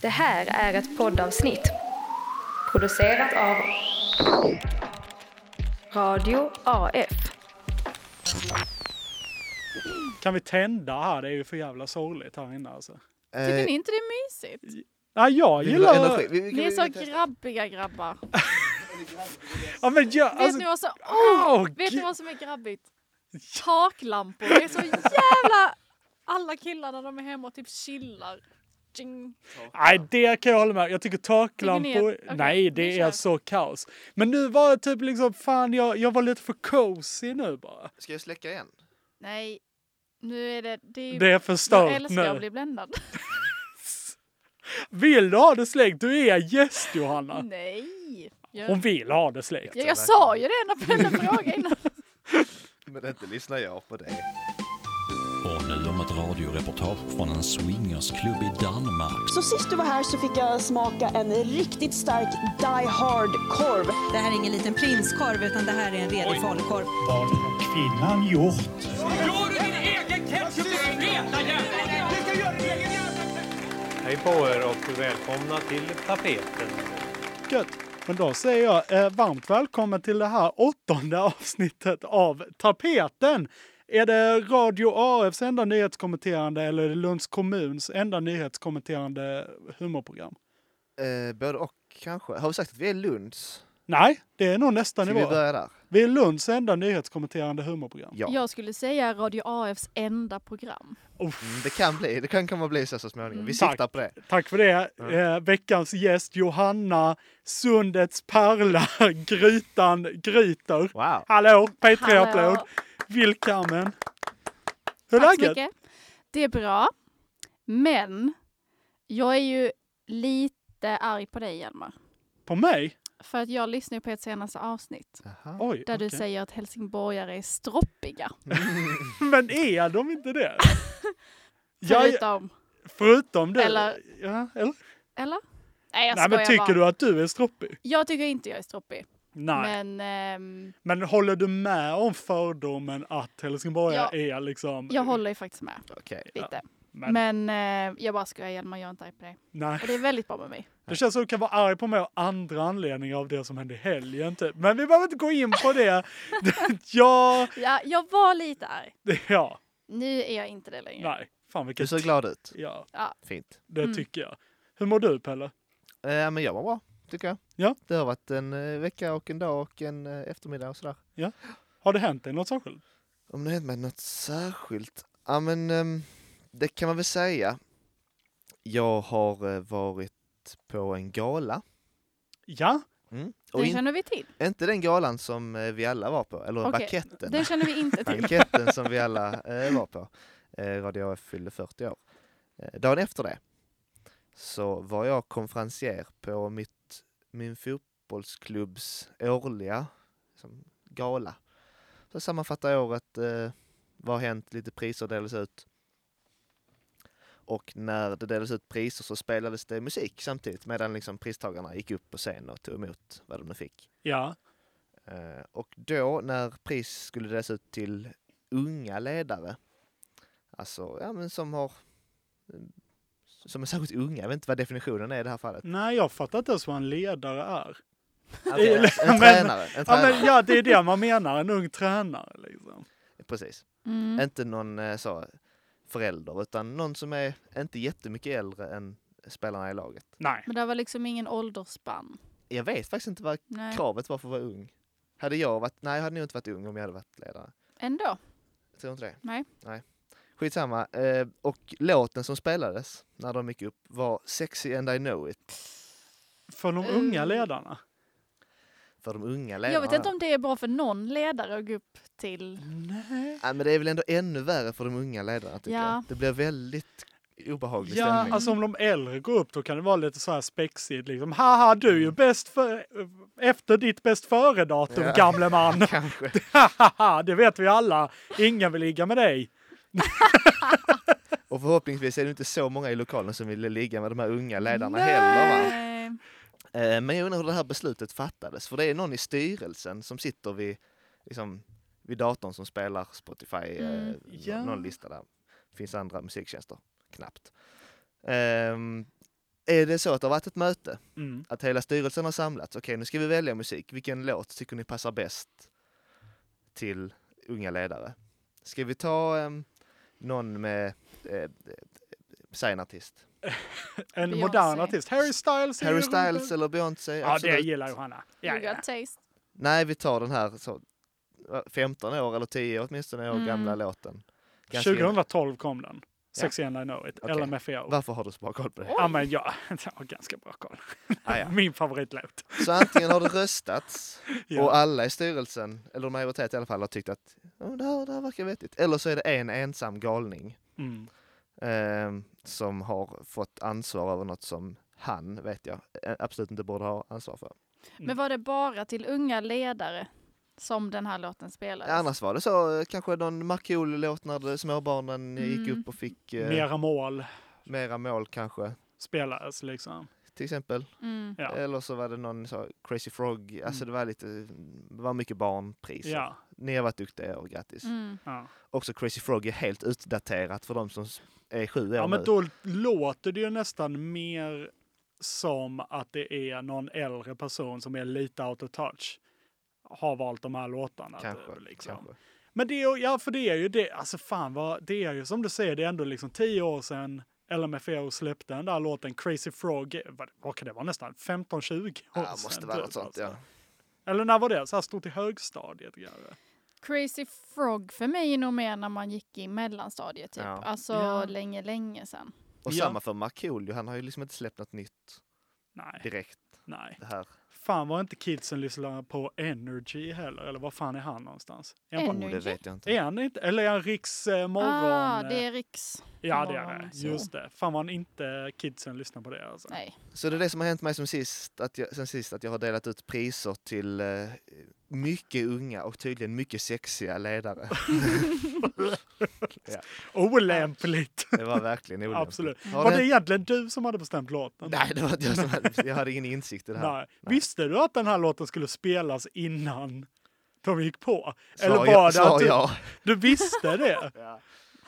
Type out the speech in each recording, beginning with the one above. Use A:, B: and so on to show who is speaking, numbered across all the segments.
A: Det här är ett poddavsnitt producerat av Radio AF.
B: Kan vi tända här? Det är ju för jävla sorgligt här inne alltså.
C: Eh,
D: Tycker ni inte det är mysigt?
B: Nej, jag
C: vi vill ha
B: gillar...
C: energi. Vi, vi,
D: Ni är
C: vi,
D: så
C: vi,
D: grabbiga grabbar.
B: Ja, men jag,
D: Vet,
B: alltså,
D: ni, vad som,
B: Åh,
D: oh, vet ni
B: gud.
D: vad som är grabbigt? Taklampor. Det är så jävla... Alla killar när de är hemma och typ chillar. Jing.
B: Nej, det kan jag hålla med Jag tycker
D: Tycker
B: taklampor...
D: ni att- okej,
B: nej,
D: vi
B: det
D: kör.
B: är så kaos. Men nu var det typ liksom, fan jag, jag var lite för cozy nu bara.
C: Ska jag släcka igen?
D: Nej, nu är det... det, är ju,
B: Det är
D: jag
B: förstört
D: älskar att
B: nu.
D: bli bländad.
B: Vill du ha det släckt? Du är gäst Johanna.
D: Mm. Nej.
B: Hon
D: Jag,
B: vill ha det släckt.
D: jag, jag sa ju det när Pelle frågade innan.
C: Men inte lyssnar jag på det.
E: Och nu om ett radioreportage från en swingersklubb i Danmark.
F: Så sist du var här så fick jag smaka en riktigt stark Die Hard-korv.
G: Det här är ingen liten prinskorv utan det här är en redig falukorv.
B: Kvinnan gjort.
H: Hej på er och välkomna till tapeten.
B: Gött. Men då säger jag eh, varmt välkommen till det här åttonde avsnittet av Tapeten. Är det Radio AFs enda nyhetskommenterande eller är det Lunds kommuns enda nyhetskommenterande humorprogram?
C: Eh, både och kanske. Har vi sagt att vi är Lunds?
B: Nej, det är nog nästa
C: Ska vi
B: nivå.
C: börja där? Mm,
B: Vi är Lunds enda nyhetskommenterande humorprogram.
C: Ja.
D: Jag skulle säga Radio AFs enda program.
C: Mm, det kan bli. Det kan komma att bli så så småningom. Vi
B: Tack.
C: siktar på det.
B: Tack för det. Eh, veckans gäst Johanna Sundets pärla, Grytan Gryter.
C: Wow.
B: Hallå,
D: Hallå.
B: P3-applåd. Välkommen. Hur är
D: Tack så
B: läget?
D: mycket. Det är bra. Men jag är ju lite arg på dig, Hjalmar.
B: På mig?
D: För att jag lyssnar ju på ert senaste avsnitt
C: Jaha.
B: Oj,
D: där du
B: okej.
D: säger att helsingborgare är stroppiga.
B: Men är de inte det? Ja, ja,
D: Förutom...
B: förutom det.
D: Eller-
B: Ja, eller?
D: Eller? Nej, jag
B: Nej, men
D: skojar
B: tycker
D: bara.
B: du att du är stroppig?
D: Jag tycker inte jag är stroppig.
B: Nej.
D: Men ehm,
B: Men, håller du med om fördomen att helsingborgare är liksom...
D: jag håller ju faktiskt med
C: Okej.
D: lite.
B: Men-
D: Men, eh, jag bara skojar, Hjalmar. Jag är inte arg på dig.
B: Nej.
D: Och det är väldigt bra med mig.
B: Det känns som du kan vara arg på mig av andra anledningar av det som hände i helgen typ. Men vi behöver inte gå in på det. ja,
D: Ja, jag var lite arg.
B: ja,
D: Nu är jag inte det längre.
B: nej. Fan
C: Du
B: vilken...
C: ser glad ut.
B: Ja,
C: Fint.
B: det
D: Mm.
B: tycker jag. Hur mår du Pelle?
C: Eh, men jag mår bra, tycker jag.
B: Ja.
C: Det har varit en eh, vecka och en dag och en eh, eftermiddag och sådär.
B: Har det hänt dig något särskilt?
C: Om det hänt mig något särskilt? Ja men ehm, det kan man väl säga. Jag har eh, varit på en gala.
B: Ja,
C: Mm. Och
D: Den
C: in,
D: känner vi till.
C: inte den galan som eh, vi alla var på, eller
D: Okej,
C: banketten.
D: Den känner vi inte till.
C: Banketten som vi alla eh, var på. Eh, Radio AF fyllde 40 år. Eh, dagen efter det så var jag konferencier på mitt, min fotbollsklubbs årliga liksom, gala. Så sammanfattar jag året, eh, vad har hänt, lite priser delades ut. Och när det delades ut priser så spelades det musik samtidigt medan liksom pristagarna gick upp på scen och tog emot vad de nu fick.
B: ja,
C: Eh, Och då när pris skulle delas ut till unga ledare, alltså ja, men som har mm, som är särskilt unga, jag vet inte vad definitionen är i det här fallet.
B: nej jag fattar inte ens vad en ledare är.
C: Okej, en
B: men-
C: tränare, en
B: Ja,
C: tränare.
B: men, ja, det är det man menar, en ung tränare liksom.
C: Precis.
D: Mm.
C: Inte någon eh, så, förälder, utan någon som är inte jättemycket äldre än spelarna i laget.
B: Nej.
D: Men det var liksom ingen åldersspann.
C: Jag vet faktiskt inte vad
D: Nej.
C: kravet var för att vara ung. Hade jag varit, nej jag hade nog inte varit ung om jag hade varit ledare.
D: Ändå.
C: Jag tror inte det.
D: Nej.
C: Nej. Skitsamma. Eh, och låten som spelades när de gick upp var Sexy and I know it.
B: För de
C: Mm.
B: unga ledarna?
C: För de unga ledarna.
D: Jag vet inte om det är bra för någon ledare att gå upp till.
B: Nej.
C: Nej, men det är väl ändå ännu värre för de unga ledarna tycker
D: Ja.
C: jag. Det blir väldigt obehaglig
B: Ja,
C: stämning.
B: alltså om de äldre går upp då kan det vara lite så här spexigt liksom. Haha, du är ju bäst för, efter ditt bäst före-datum,
C: Mm. Ja.
B: gamle man.
C: Kanske.
B: Hahaha, det vet vi alla. Ingen vill ligga med dig.
C: Och förhoppningsvis är det inte så många i lokalen som ville ligga med de här unga ledarna heller. Va?
D: Eh,
C: Eh, men jag undrar hur det här beslutet fattades. För det är någon i styrelsen som sitter vid, liksom, vid datorn som spelar Spotify, eh, nå-
B: Ja.
C: någon lista där. Finns andra musiktjänster, knappt. Ehm, är det så att det har varit ett möte,
B: Mm.
C: att hela styrelsen har samlats, okej nu ska vi välja musik, vilken låt tycker ni passar bäst till unga ledare? Ska vi ta em, någon med, eh, säg en artist,
B: En
D: Beyoncé.
B: modern artist. Harry Styles. är
C: Harry
B: ju-
C: Styles eller Beyoncé?
B: Ja, det
C: absolut.
B: gillar Johanna. Ja,
D: You
B: ja.
D: got taste.
C: Nej, vi tar den här så, eh, 15 år eller 10 år, åtminstone år
D: Mm.
C: gamla låten. Ganska gammal.
B: 2012 kom den.
C: Ja.
B: 61 I know it.
C: Okej.
B: LMFAO.
C: Varför har du så bra koll på det?
B: Ja, men jag jag har ganska bra koll.
C: Ah, ja.
B: Min favoritlåt.
C: Så antingen har det röstats
B: Ja.
C: och alla i styrelsen, eller majoritet i alla fall, har tyckt att oh, det, här, det här verkar vettigt. Eller så är det en ensam galning
B: Mm.
C: eh, som har fått ansvar över något som han, vet jag, eh, absolut inte borde ha ansvar för.
D: Men var det bara till unga ledare som den här låten spelades?
C: Annars var det så, eh, kanske någon Markoolio-låt när det- småbarnen gick
D: Mm.
C: upp och fick eh,
B: Mera mål
C: mera mål kanske,
B: spelades liksom.
C: till exempel.
D: Mm.
B: Ja. Mm.
C: Eller så var det någon så, Crazy Frog, alltså det var lite, det var mycket barnpriser.
B: Ja.
C: Ni har varit duktiga och grattis.
D: Mm.
B: Ja.
C: också Crazy Frog är helt utdaterat för de som s- är sju år
B: ja, men
C: nu.
B: då låter det ju nästan mer som att det är någon äldre person som är lite out of touch har valt de här låtarna.
C: Kanske.
B: typ, liksom.
C: kanske.
B: Men det är, ju- ja, för det är ju det, alltså fan vad, det är ju som du säger, det är ändå liksom tio år sedan LMFAO släppte den där låten Crazy Frog, vad, vad kan det vara, nästan 15-20 år
C: Ja, måste vara
B: typ,
C: något sånt,
B: alltså.
C: ja.
B: Eller när var det? Så här stort i högstadiet kanske?
D: Crazy Frog för mig är nog mer när man gick i mellanstadiet typ.
C: Ja.
D: Alltså
B: Ja.
D: länge, länge sedan.
C: Och
B: Ja.
C: samma för Markoolio, han har ju liksom inte släppt något nytt
B: Nej,
C: direkt.
B: nej.
C: Det här.
B: Fan var inte kidsen lyssnade på Energy heller, eller var fan är han någonstans? Är han, på,
D: Energy?
C: Oh, det vet jag inte.
B: är han inte, eller är han Riks eh, morgon?
D: ah, det
B: eh,
D: är Riks.
B: ja, det är
D: morgon,
B: det.
D: så.
B: Just det. Fan var han inte kidsen lyssnade på det alltså.
D: Nej.
C: Så det är det som har hänt mig som sist, att jag, sen sist, att jag har delat ut priser till eh, mycket unga och tydligen mycket sexiga ledare.
B: Olämpligt!
C: Det var verkligen olämpligt.
B: Absolut.
C: Har
B: Var
C: det-
B: det egentligen du som hade bestämt låten?
C: Nej, det var inte jag som hade, jag hade ingen insikt i det här.
B: Nej. Visste du att den här låten skulle spelas innan de gick på? Eller
C: Svar
B: var
C: ja-
B: det att
C: svar
B: du,
C: ja.
B: du visste det?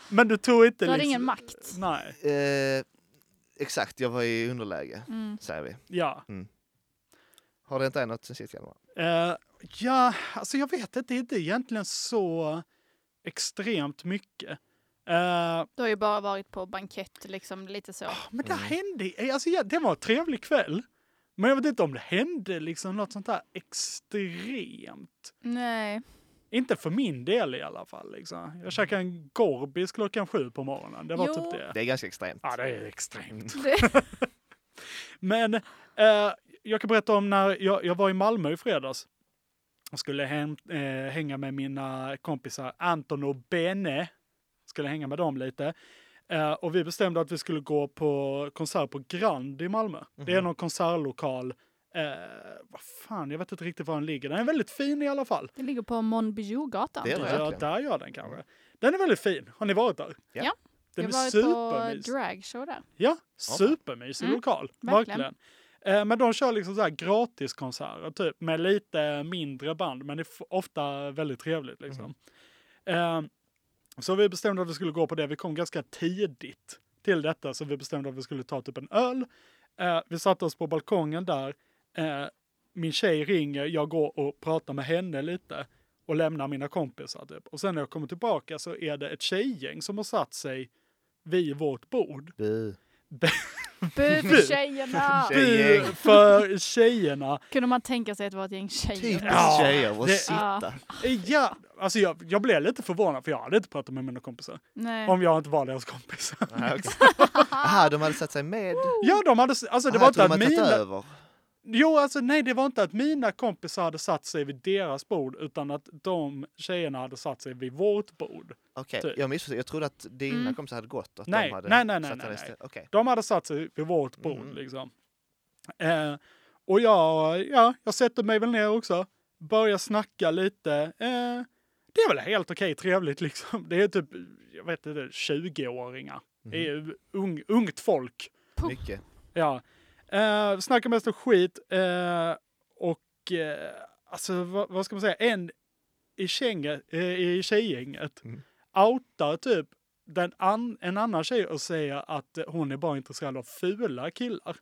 B: Men du tog inte
D: Du hade
B: liksom-
D: ingen makt.
B: Nej,
C: Eh, exakt, jag var i underläge, säger vi.
B: ja.
C: Har det inte hänt något sen sist, Hjalmar?
B: Eh, ja, alltså jag vet inte, det är inte egentligen så extremt mycket. Eh,
D: Du har ju bara varit på bankett liksom lite så.
B: men det hände, alltså ja, det var en trevlig kväll. Men jag vet inte om det hände liksom något sånt där extremt.
D: Nej.
B: Inte för min del i alla fall. Liksom. Jag käkade en gorbis klockan sju på morgonen. Det var
D: Jo.
B: typ det.
C: Det är ganska extremt. Mm.
B: Ja, det är extremt.
D: Det-
B: Men eh, jag kan berätta om när jag, jag var i Malmö i fredags. Jag skulle hem, eh, hänga med mina kompisar Anton och Benne. Skulle hänga med dem lite. Eh, och vi bestämde att vi skulle gå på konsert på Grand i Malmö. Det
C: Mhm.
B: är någon konsertlokal. Eh, vad fan, jag vet inte riktigt var den ligger. Den är väldigt fin i alla fall.
D: Det ligger på Monbijougatan.
C: Det är
D: tror
C: det.
D: jag.
B: Ja,
C: verkligen.
B: där gör den kanske. Den är väldigt fin. Har ni varit där?
C: Ja.
D: Ja.
B: Den
D: jag
B: är
D: var
B: supermysig.
D: på dragshow där.
B: Ja, supermysig
D: Mm,
B: lokal. Verkligen.
D: verkligen.
B: Eh, Men de kör liksom så här gratiskonserter typ med lite mindre band men det är f- ofta väldigt trevligt liksom. Eh, Så vi bestämde att vi skulle gå på det. Vi kom ganska tidigt till detta så vi bestämde att vi skulle ta typ en öl. Eh, Vi satte oss på balkongen där. Eh, Min tjej ringer, jag går och pratar med henne lite och lämnar mina kompisar typ. Och sen när jag kommer tillbaka så är det ett tjejgäng som har satt sig vid vårt bord.
C: Bu.
D: Bu för tjejerna!
B: Bu
C: Tjejgäng.
B: för tjejerna.
D: Kunde man tänka sig att det var ett gäng tjejer?
C: Typiskt
B: Ja,
C: tjejer att
B: det-
C: sitta.
B: Ja, alltså jag, jag blev lite förvånad för jag hade inte pratat med mina kompisar.
D: Nej.
B: Om jag inte var deras kompisar.
C: Nej, okej. Aha, de hade satt sig med.
B: Ja, de hade, s- alltså det
C: Aha,
B: var
C: jag
B: inte
C: trodde
B: att
C: de hade tagit
B: mina,
C: över.
B: jo alltså nej det var inte att mina kompisar hade satt sig vid deras bord utan att de tjejerna hade satt sig vid vårt bord.
C: Okej,
B: Typ.
C: jag missförstod. Jag trodde att dina kompisar hade gått och att
B: Nej,
C: de hade
B: nej, nej, nej,
C: satt
B: nej,
C: sig
B: nej.
C: istället. Okej.
B: De hade satt sig vid vårt bord liksom. Eh, och jag, ja, jag sätter mig väl ner också. Börjar snacka lite. Eh, det är väl helt okej trevligt liksom. Det är typ, jag vet inte, 20-åringar. Det är ju ung, ungt folk.
C: Mycket.
B: Ja. Eh, snackar mest om skit. Eh, och eh, alltså, vad, vad ska man säga? En i, känge, eh, i tjejgänget outar typ den an, en annan tjej och säga att hon är bara intresserad av fula killar.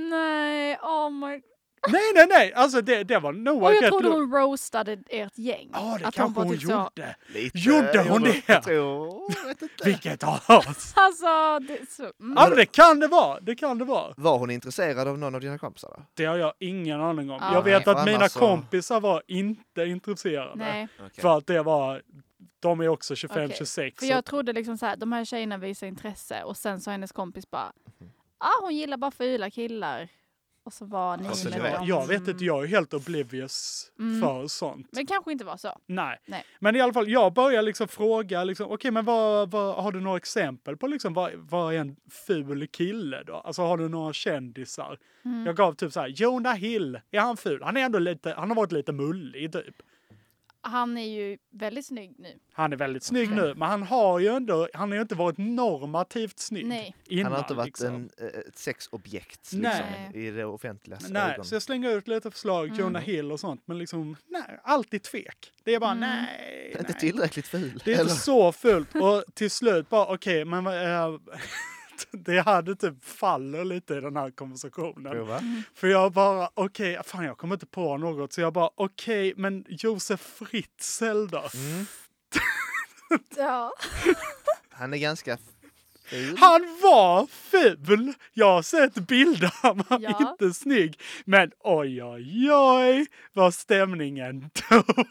D: Nej, oh my...
B: Nej, nej, nej! Alltså det, det var Noah
D: Och jag
B: rätt
D: trodde
B: lo-
D: hon roastade ert gäng.
B: Ja, det
D: att hon
B: kanske
D: bara
B: hon
D: typ så,
B: gjorde.
C: Lite,
B: Gjorde hon det?
C: Jag tror, vet inte.
B: Vilket as!
D: Alltså, det, är så, mm.
B: Ja, det kan det vara! Det kan det vara.
C: Var hon intresserad av någon av dina kompisar? Då?
B: Det har jag ingen aning om.
D: Ja,
B: jag vet
C: nej,
B: att mina
C: annars så-
B: kompisar var inte intresserade.
D: Nej,
B: För att det var... De är också 25,
D: Okej,
B: 26.
D: för jag trodde liksom så här, de här tjejerna visar intresse och sen sa hennes kompis bara,
C: Mhm.
D: ah hon gillar bara fula killar. Och så var ni
C: Och så
D: med
C: det var-
D: dem.
B: Jag vet inte, jag är helt oblivious
D: Mm.
B: för sånt.
D: Men det kanske inte var så.
B: Nej.
D: Nej.
B: Men i alla fall, jag börjar liksom fråga, liksom, okej men vad, vad, har du några exempel på liksom, vad, vad är en ful kille då? Alltså har du några kändisar?
D: Mm.
B: Jag gav typ så här, Jonah Hill, är han ful? Han är ändå lite, han har varit lite mullig typ.
D: Han är ju väldigt snygg nu.
B: Han är väldigt snygg nu, men han har ju ändå, han har ju inte varit normativt snygg
D: Nej.
B: innan.
C: Han har inte varit
B: liksom.
C: en, eh, ett sexobjekt
B: Nej.
C: liksom, i det offentliga
B: Nej,
C: ögon.
B: så jag slänger ut lite förslag, Jonah Hill och sånt, men liksom, nej, alltid tvek. Det är bara nej,
C: Inte
B: nej.
C: tillräckligt ful.
B: Det är inte
C: eller?
B: så fult. Och till slut bara, okej, men vad, eh, det hade typ faller lite i den här konversationen.
C: Prova.
B: För jag bara, okej, fan jag kommer inte på något. Så jag bara, okej, men Josef Fritzl då?
C: Mm.
D: Ja.
C: Han är ganska ful.
B: Han var ful! Jag har sett bilder, han var
D: Ja.
B: inte snygg. Men oj, oj, oj, vad stämningen tog.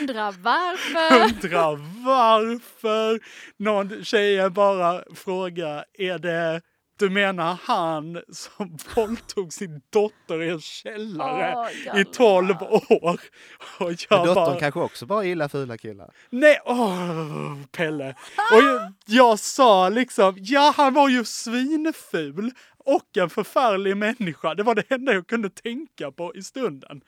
D: Undrar varför.
B: undrar varför någon tjej bara frågar är det du menar han som våldtog sin dotter i en källare
D: Åh,
B: i
D: jävlar.
B: 12 år? Och
C: Men
B: jag
C: dottern
B: bara,
C: kanske också bara gillar fula killar.
B: nej, åh, Pelle. Och jag, jag sa liksom, ja han var ju svinful och en förfärlig människa. Det var det enda jag kunde tänka på i stunden.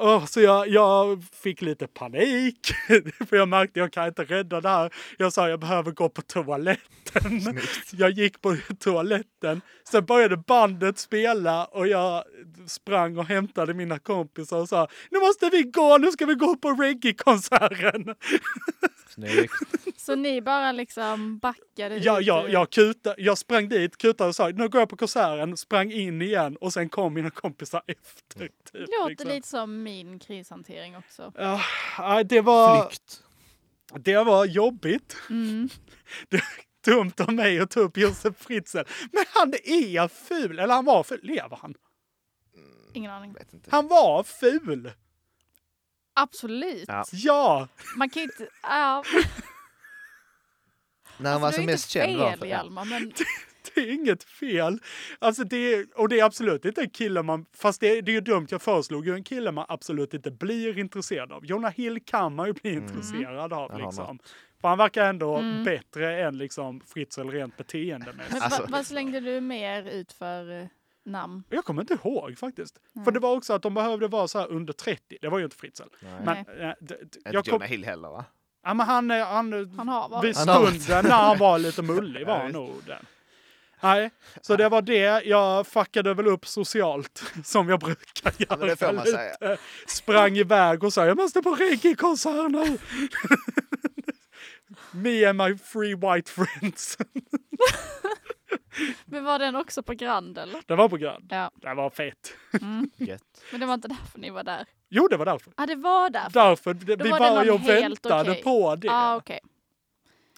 B: Åh, så jag, jag fick lite panik, för jag märkte jag kan inte rädda det här. Jag sa jag behöver gå på toaletten. Jag gick på toaletten, sen började bandet spela och jag sprang och hämtade mina kompisar och sa nu måste vi gå, nu ska vi gå på reggae-konserten.
C: Snyggt.
D: Så ni bara liksom backade
B: Ja,
D: ut
B: jag,
D: ur-
B: jag, kuta, jag sprang dit, kutade och sa nu går jag på konserten, sprang in igen och sen kom mina kompisar efter. Typ,
D: Låter
B: liksom.
D: lite som min krishantering också.
B: Ja, nej, det var...
C: Flykt.
B: Det var jobbigt.
D: Mm.
B: Det är dumt av mig att ta upp Josef Fritzl. Men han är ful! Eller han var ful. Lever han?
D: Ingen aning.
C: Vet inte.
B: Han var ful!
D: Absolut.
C: Ja.
B: Ja!
D: Man kan inte... Ja,
C: När han var som mest
D: fel,
C: känd var han för- ja.
D: Hjalmar, men
B: Det är inget fel. Alltså det är, och det är absolut inte en kille man... Fast det, det är ju dumt, jag föreslog ju en kille man absolut inte blir intresserad av. Jonah Hill kan man ju bli intresserad av
C: Han Mm. har
B: liksom. För han verkar ändå
D: Mm.
B: bättre än liksom Fritzl rent beteendemässigt.
D: men
C: Alltså-
D: vad, vad slängde du mer ut för eh, namn?
B: Jag kommer inte ihåg faktiskt. För det var också att de behövde vara så här under 30. Det var ju inte Fritzl. Men, eh, d- d- jag
C: Inte
B: kom,
C: Jonah Hill heller va?
B: ja, men han, eh, han,
D: Han har varit.
B: vid
C: Han har varit.
B: stunden när han var lite mullig var
C: Ja,
B: han
C: visst.
B: nog den. Nej, så det var det. Jag fuckade väl upp socialt som jag brukar göra.
C: men det får man säga.
B: lite. Sprang iväg och sa jag måste på reggae-konsert nu. Me and my three white friends.
D: Men var den också på Grand eller?
B: Det var på Grand.
D: Ja,
B: Det var fett.
C: Gött.
D: men det var inte därför ni var där.
B: Jo, det var därför.
D: Ja, det var därför.
B: Därför, det,
D: Då
B: vi
D: var det
B: bara
D: någon
B: jag
D: helt
B: väntade
D: okej.
B: på det.
D: Ja, ah, okej.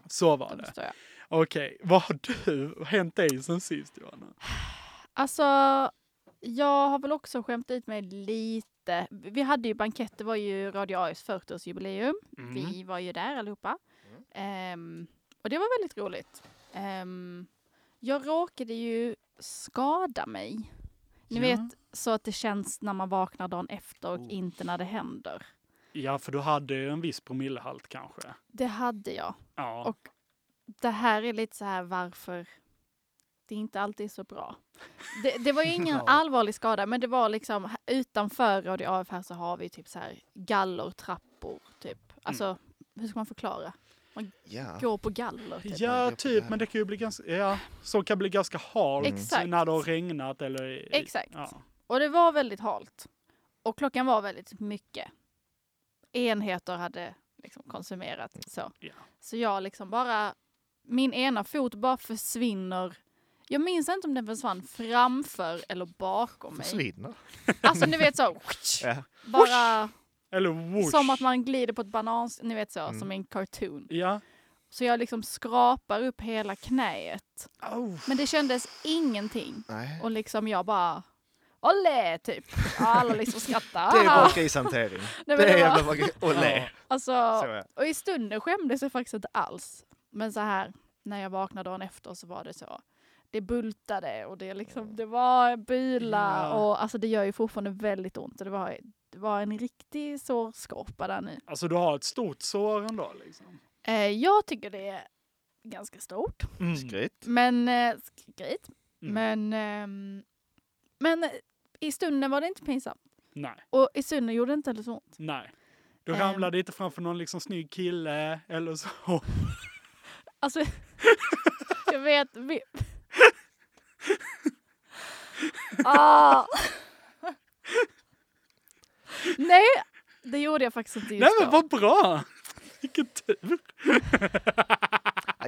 B: Så var
D: Då
B: det.
D: förstår jag.
B: Okej, vad har du hänt dig sen sist Johanna?
D: Alltså, jag har väl också skämt ut mig lite. Vi hade ju bankett, det var ju Radio AIs 40-årsjubileum.
B: Mm.
D: Vi var ju där allihopa. Ehm, och det var väldigt roligt. Ehm, jag råkade ju skada mig.
B: Ja.
D: Ni
B: Oh.
D: vet, så att det känns när man vaknar dagen efter och inte när det händer.
B: Ja, för du hade ju en viss promillehalt kanske.
D: Det hade jag.
B: Ja,
D: Och det här är lite så här varför det inte alltid är så bra. Det, det var ju ingen allvarlig skada, men det var liksom här- utanför Radio AF här så har vi typ så här gallertrappor, typ.
B: Mm.
D: Alltså, hur ska man förklara?
C: Ja.
D: Gå på galler, typ.
B: ja typ, men det kan ju bli ganska, ja, som kan bli ganska halt
D: Exakt.
B: när det har regnat eller...
D: Exakt.
B: Ja.
D: Och det var väldigt halt. Och klockan var väldigt mycket. Enheter hade liksom konsumerat så.
B: Mm. Ja.
D: Så jag liksom bara min ena fot bara försvinner. Jag minns inte om den försvann framför eller bakom mig.
C: Försvinner.
D: Alltså ni vet så,
C: Ja.
D: bara
B: Eller whoosh.
D: som att man glider på ett banans, ni vet så,
C: Mm.
D: som i en cartoon.
B: Ja.
D: Så jag liksom skrapar upp hela knäet.
B: Au.
D: Men det kändes ingenting.
C: Nej.
D: Och liksom jag bara, olle typ. Och alla liksom skrattar.
C: Det är
B: Ah!
C: bra krishantering.
D: Nej, men
C: det är
D: det var-
C: jävla bra gris. Olé.
D: Alltså,
C: Så ja.
D: Och i stunden skämdes jag faktiskt inte alls. Men så här, när jag vaknade dagen efter så var det så. Det bultade och det, liksom, det var bila
B: Ja.
D: och alltså det gör ju fortfarande väldigt ont. Och det, var, det var en riktig sårskorpa där nu.
B: Alltså du har ett stort sår ändå liksom.
D: Eh, jag tycker det är ganska stort.
C: Skryt.
D: Men eh, grejt.
B: Mm.
D: Men, ehm, men eh, i stunden var det inte pinsamt.
B: Nej,
D: Och i stunden gjorde det inte heller så ont.
B: nej. Du
D: Ehm.
B: ramlade inte framför någon liksom snygg kille eller så.
D: Alltså, jag vet... Vi... ah. Nej, det gjorde jag faktiskt inte just
B: Nej men
D: då.
B: vad bra! Vilken tur!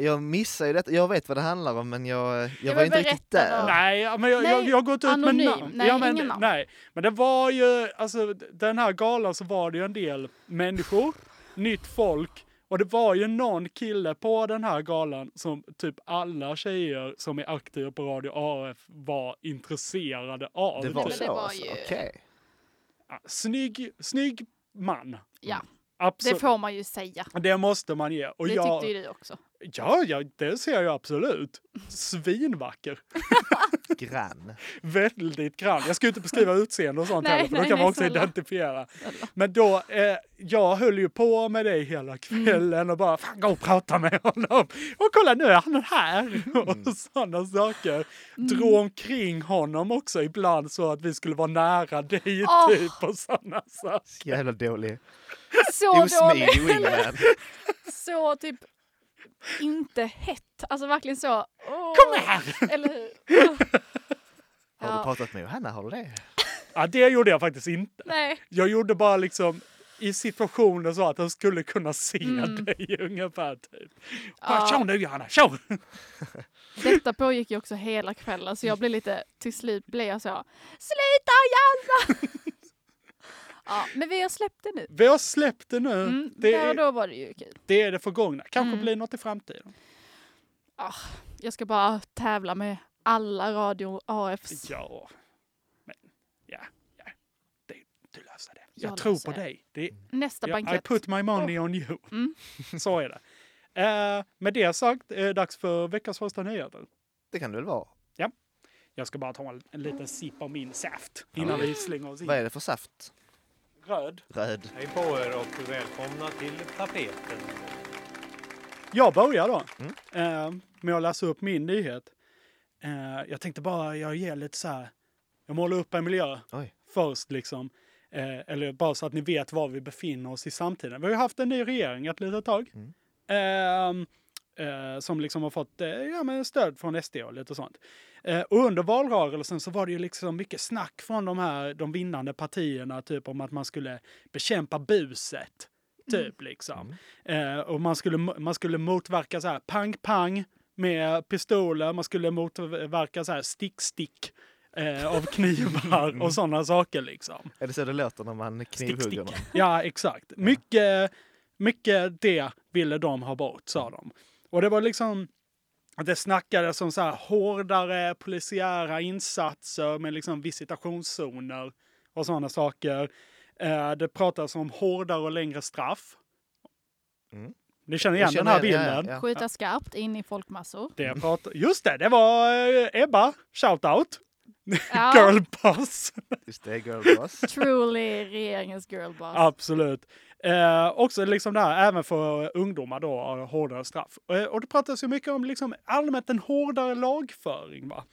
C: Jag missar ju detta. Jag vet vad det handlar om men jag, jag
D: men
C: var inte riktigt
D: berätta
C: där.
D: då.
B: Nej, ja, men jag,
D: alltså. Nej,
B: jag, jag har gått ut
D: anonym.
B: med namn.
D: Nej,
B: ja, men,
D: ingen namn.
B: nej, men det var ju, alltså d- den här galan så var det ju en del människor, nytt folk och det var ju någon kille på den här galan som typ alla tjejer som är aktiva på Radio AF var intresserade av.
C: Det var
B: typ.
D: det
C: så
D: var
C: alltså.
D: ju-
C: Okej.
B: Ja, Snygg, snygg man.
D: Ja,
C: Mm.
D: det
B: Absolut.
D: får man ju säga.
B: Det måste man ge. Och
D: det
B: jag,
D: tyckte ju du också.
B: ja, ja, det ser jag absolut. Svinvacker.
C: Grann.
B: väldigt grann. Jag ska ju inte beskriva utseende och sånt
D: Nej,
B: heller, för då
D: nej,
B: kan man
D: nej,
B: också
D: snälla.
B: identifiera. Men då, eh, jag höll ju på med dig hela
D: Mm.
B: kvällen och bara, fan gå och prata med honom. Och kolla nu är han här!
D: Mm.
B: Och sådana saker. Drog omkring honom också ibland så att vi skulle vara nära dig
D: Åh.
B: typ och sådana saker.
C: Så Jävla dålig.
D: Så dåligt.
C: Osmidig wingman.
D: Så typ inte hett. Alltså verkligen så. Kom här! Eller hur?
C: Har du
D: Ja.
C: pratat med Johanna? Har du det?
B: Ja, det gjorde jag faktiskt inte.
D: Nej.
B: Jag gjorde bara liksom i situationer så att han skulle kunna se dig ungefär. Typ. Bara,
D: Mm. Ja.
B: Tjo nu Johanna, tjo!
D: Detta pågick ju också hela kvällen så jag blev lite, till slut blev jag så Sluta Janna! ja, men vi har släppt det nu.
B: Vi har släppt det nu.
D: Mm,
B: det,
D: Där och
B: är,
D: då Mm. var det ju kul.
B: det är det förgångna. Kanske blir något i framtiden.
D: Jag ska bara tävla med alla Radio AFs.
B: Ja. Men, ja, ja. Det, du löser det. Jag,
D: Jag
B: tror
D: löser
B: på
D: det. Oh.
B: dig. Det,
D: Nästa
B: jag, I
D: bankett.
B: put my money on you.
D: Mm.
B: Så är det. Eh, med det sagt är det dags för veckans första nyheter.
C: Det kan det väl vara?
B: Jag ska bara ta en, en liten sipp av min saft innan vi slänger oss in.
C: Vad är det för saft?
B: Röd.
C: Röd.
H: Hej på er och välkomna till tapeten.
B: Jag börjar då eh, med att läsa upp min nyhet. Eh, jag tänkte bara jag ger lite så här. Jag målar upp en miljö
C: Oj.
B: först liksom. Eh, eller bara så att ni vet var vi befinner oss i samtiden. Vi har ju haft en ny regering ett litet tag. Eh, eh, som liksom har fått eh, ja, men stöd från SD och lite sånt. Eh, och under valrörelsen så var det ju liksom mycket snack från de här de vinnande partierna typ om att man skulle bekämpa buset. Typ liksom. Eh, och man skulle, man skulle motverka så här pang-pang med pistoler, man skulle motverka så här stick-stick eh, av knivar och sådana saker liksom.
C: Är det så det låter när man knivhugger någon?
B: Ja, exakt. Mycket, mycket det ville de ha bort, sa de. Och det var liksom... Det snackades om så här hårdare polisiära insatser med liksom visitationszoner och sådana saker. Eh, Det pratades om hårdare och längre straff.
C: Mm.
B: Ni känner igen
C: Jag
B: den
C: känner
B: här
C: igen- ja,
B: bilden?
C: ja, ja.
D: Skjuta skarpt in i folkmassor.
B: Det prat... Just det, det var eh, Ebba. Shout out.
D: Ja,
B: Girl boss.
C: Just det, girl boss.
D: truly regeringens girlboss.
B: Absolut. Eh, också liksom det här, även för ungdomar då, har hårdare straff. Eh, och det pratas ju mycket om liksom allmänt en hårdare lagföring. Va?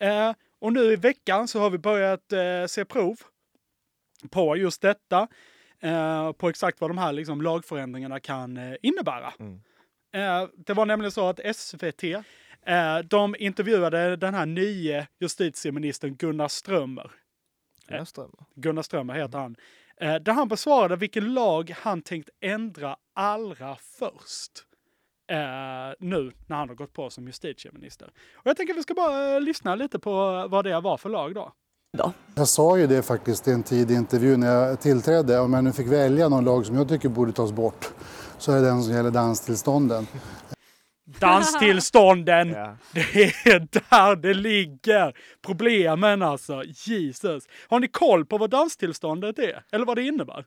B: Eh, och nu i veckan så har vi börjat eh, se prov på just detta. Eh, på exakt vad de här liksom, lagförändringarna kan eh, innebära.
C: Mm.
B: Eh, det var nämligen så att SVT eh, de intervjuade den här nye justitieministern Gunnar Strömmer.
C: Jag strömmar.
B: Gunnar Strömmer heter han. Eh, där han besvarade vilken lag han tänkt ändra allra först. eh, nu när han har gått på som justitieminister. Och jag tänker vi ska bara eh, lyssna lite på eh, vad det var för lag då.
I: Jag sa ju det faktiskt i en tidig intervju när jag tillträdde. Om jag nu fick välja någon lag som jag tycker borde tas bort så är det den som gäller danstillstånden.
B: Danstillstånden!
C: Ja.
B: Det är där det ligger! Problemen alltså, Jesus. Har ni koll på vad danstillståndet är? Eller vad det innebär?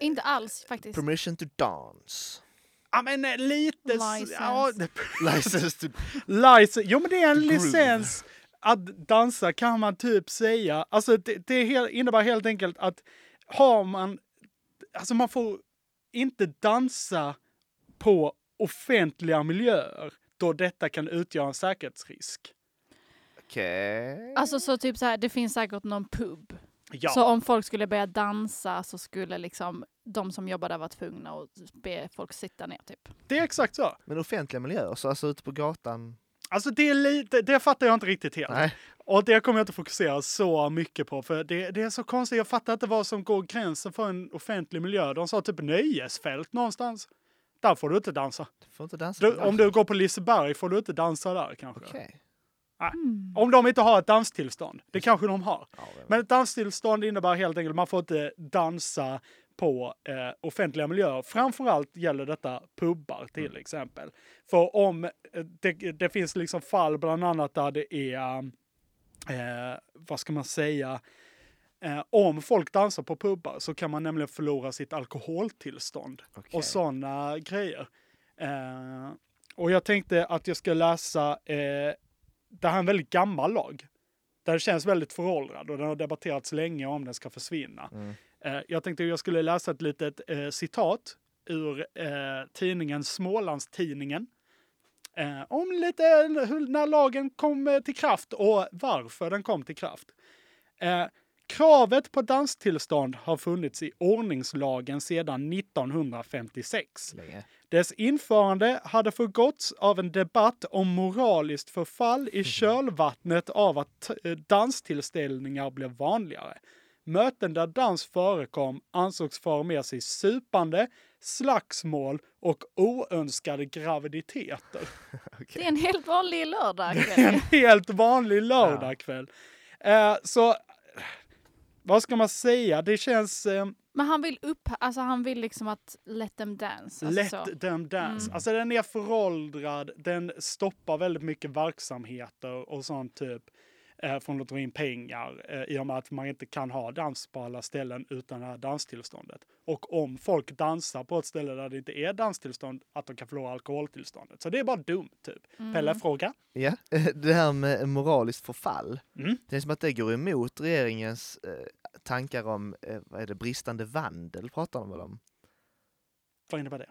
D: Inte alls faktiskt.
C: Permission to dance.
B: Ja men eh, lite... s-
D: License.
B: Ja, det-
C: License to...
B: license. Jo men det är en
C: Groove.
B: licens att dansa kan man typ säga. Alltså det, det är hel- innebär helt enkelt att har man... Alltså man får inte dansa på offentliga miljöer då detta kan utgöra en säkerhetsrisk.
C: Okej.
D: Alltså så typ så här, det finns säkert någon pub.
B: Ja.
D: Så om folk skulle börja dansa så skulle liksom de som jobbar där vara tvungna att be folk sitta ner typ.
B: Det är exakt så.
C: Men offentliga miljöer, så alltså ute på gatan?
B: Alltså det är lite, det fattar jag inte riktigt helt.
C: Nej.
B: Och det kommer jag inte fokusera så mycket på för det, det är så konstigt. Jag fattar inte vad som går gränsen för en offentlig miljö. De sa typ nöjesfält någonstans. Där får du inte dansa.
C: Du får inte dansa
B: Du,
C: på
B: om
C: gatan.
B: du går på Liseberg får du inte dansa där kanske.
C: Okej.
B: Mm. Om de inte har ett danstillstånd. Det kanske de har.
C: Ja, vem-
B: Men ett danstillstånd innebär helt enkelt att man får inte dansa på eh, offentliga miljöer. Framförallt gäller detta pubbar till
C: Mm.
B: exempel. För om eh, det, det finns liksom fall bland annat där det är, eh, vad ska man säga, eh, om folk dansar på pubbar så kan man nämligen förlora sitt alkoholtillstånd
C: Okej.
B: och sådana grejer. Eh, och jag tänkte att jag ska läsa, eh, det här är en väldigt gammal lag. Den känns väldigt föråldrad och den har debatterats länge om den ska försvinna. Eh, jag tänkte jag skulle läsa ett litet eh, citat ur eh, tidningen Smålandstidningen. Eh, om lite hur, när lagen kom eh, till kraft och varför den kom till kraft. Eh, kravet på danstillstånd har funnits i ordningslagen sedan 1956.
C: Länge.
B: Dess införande hade förgåtts av en debatt om moraliskt förfall i kölvattnet av att eh, danstillställningar blev vanligare. Möten där dans förekom ansågs föra med sig supande, slagsmål och oönskade graviditeter.
D: Det är en helt vanlig lördag.
B: En helt vanlig lördagkväll. Eh, så vad ska man säga? Det känns eh,
D: Men han vill upp, alltså han vill liksom att let them dance. Alltså,
B: let
D: så.
B: them dance. Alltså den är föråldrad, den stoppar väldigt mycket verksamheter och sånt typ eh, från att dra in pengar eh, i och med att man inte kan ha dans på alla ställen utan det här danstillståndet. Och om folk dansar på ett ställe där det inte är danstillstånd att de kan förlora alkoholtillståndet. Så det är bara dumt
D: Mm.
B: typ. Pelle fråga?
C: Ja, det här med moraliskt förfall.
B: Mm.
C: Det är som att det går emot regeringens eh, tankar om eh, vad är det, bristande vandel, pratar de väl om?
B: Vad innebär det?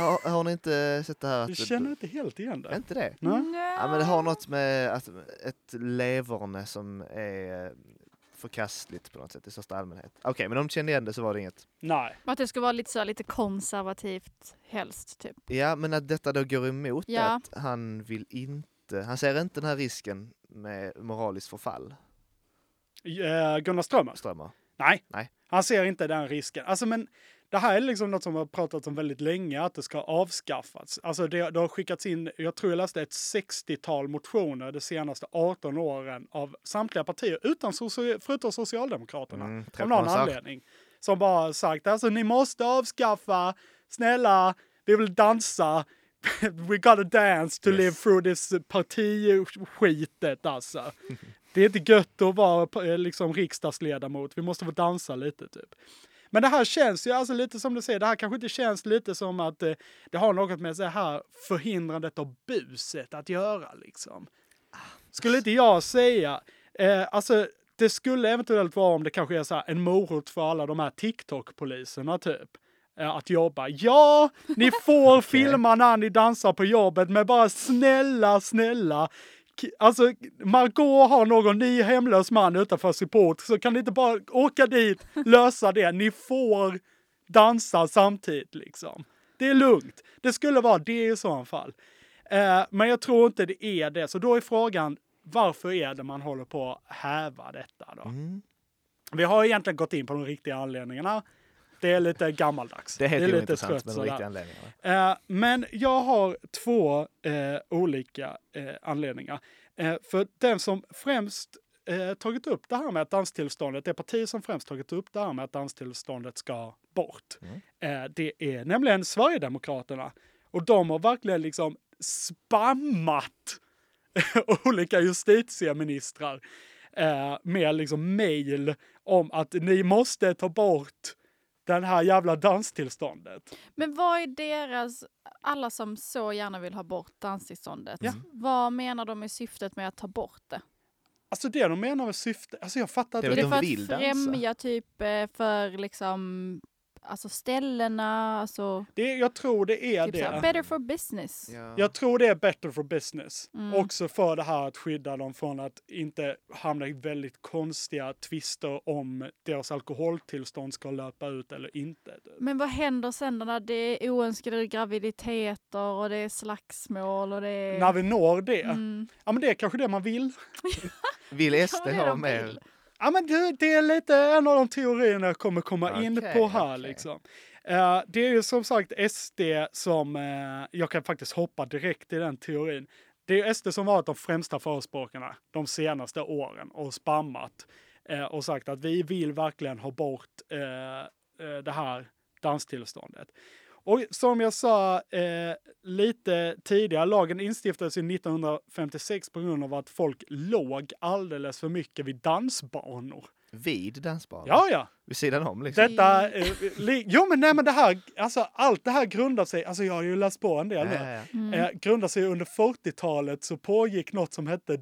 C: Har, har ni inte sett det Mm. här?
B: Du
C: Att,
B: känner inte helt igen det?
C: Inte det?
B: Nej.
C: Ja,
D: Mm.
C: men det har något med att ett leverne som är eh, förkastligt på något sätt i största allmänhet. Okej, men om de kände igen det så var det inget.
B: Nej.
D: Och Att det ska vara lite så här, lite konservativt helst typ.
C: Ja, men att detta då går emot
D: Ja.
C: att han vill inte, han ser inte den här risken med moraliskt förfall,
B: Eh, Gunnar Strömmer?
C: Strömmer.
B: Nej.
C: Nej.
B: Han ser inte den risken. Alltså, men det här är liksom något som har pratats om väldigt länge, att det ska avskaffas. Alltså, det, det har skickats in, jag tror jag läste ett 60-tal motioner de senaste 18 åren av samtliga partier, utan soci, förutom Socialdemokraterna,
C: Mm,
B: av någon
C: träffmasar.
B: anledning. Som bara sagt, alltså ni måste avskaffa, snälla, vi vill dansa, we gotta dance to
C: Yes.
B: live through this partiskitet alltså. Det är inte gött att vara eh, liksom, riksdagsledamot. Vi måste få dansa lite typ. Men det här känns ju alltså lite som du säger, det här kanske inte känns lite som att eh, det har något med så här förhindrandet av buset att göra liksom. Skulle inte jag säga, eh, alltså det skulle eventuellt vara om det kanske är så här en morot för alla de här TikTok-poliserna typ. eh, Att jobba. Ja, ni får filma när ni dansar på jobbet, men bara snälla, snälla. K- Alltså, Margot har någon ny hemlös man utanför sin port, så kan ni inte bara åka dit, lösa det. Ni får dansa samtidigt liksom. Det är lugnt. Det skulle vara det i så fall. Eh, men jag tror inte det är det. Så då är frågan, varför är det man håller
C: Mm.
B: på att häva detta då? Vi har egentligen gått in på de riktiga anledningarna. Det är lite gammaldags.
C: Det heter ju
B: lite
C: intressant
B: trött
C: men av
B: sådär.
C: riktiga anledningar.
B: Eh, men jag har två eh, olika eh, anledningar. Eh, för den som främst eh, tagit upp det här med att danstillståndet, det parti som främst tagit upp det här med att danstillståndet ska bort, eh, det är nämligen Sverigedemokraterna. Och de har verkligen liksom spammat olika justitieministrar eh, med liksom mejl om att ni måste ta bort den här jävla danstillståndet.
D: Men vad är deras, alla som så gärna vill ha bort danstillståndet, vad menar de är syftet med att ta bort det?
B: Alltså det de menar med syfte, alltså jag fattar
C: Det
B: inte.
C: är
D: Är
C: de
D: det för
C: vill
D: att
C: dansa.
D: främja typ eh, för liksom, alltså ställena, alltså
B: Det, jag tror det är
D: typ såhär,
B: det.
D: better for business.
B: Jag tror det är better for business. Också för det här att skydda dem från att inte hamna i väldigt konstiga tvister om deras alkoholtillstånd ska löpa ut eller inte. typ.
D: Men vad händer sen då när det är oönskade graviditeter och det är slagsmål och det är...
B: När vi når det,
D: Mm.
B: ja men det är kanske det man vill.
C: Vill SD
D: det är
C: ha
D: de
C: mer?
D: vill.
B: Ja, men det, det är lite en av de teorierna jag kommer komma in
C: Okej,
B: på här.
C: okej.
B: Liksom. Eh, det är ju som sagt SD som, eh, jag kan faktiskt hoppa direkt i den teorin. Det är ju SD som varit de främsta förespråkarna de senaste åren och spammat eh, och sagt att vi vill verkligen ha bort eh, eh, det här danstillståndet. Och som jag sa eh, lite tidigare, lagen instiftades ju 1956 på grund av att folk låg alldeles för mycket vid dansbanor.
C: Vid dansbanan?
B: Ja, ja.
C: Vid sidan om liksom?
B: Detta... Eh, li, jo, men nej, men det här, alltså allt det här grundar sig, alltså jag har ju läst på en del
C: Ja,
B: nu.
C: ja, ja.
B: Eh, grundar sig under 40-talet så pågick något som hette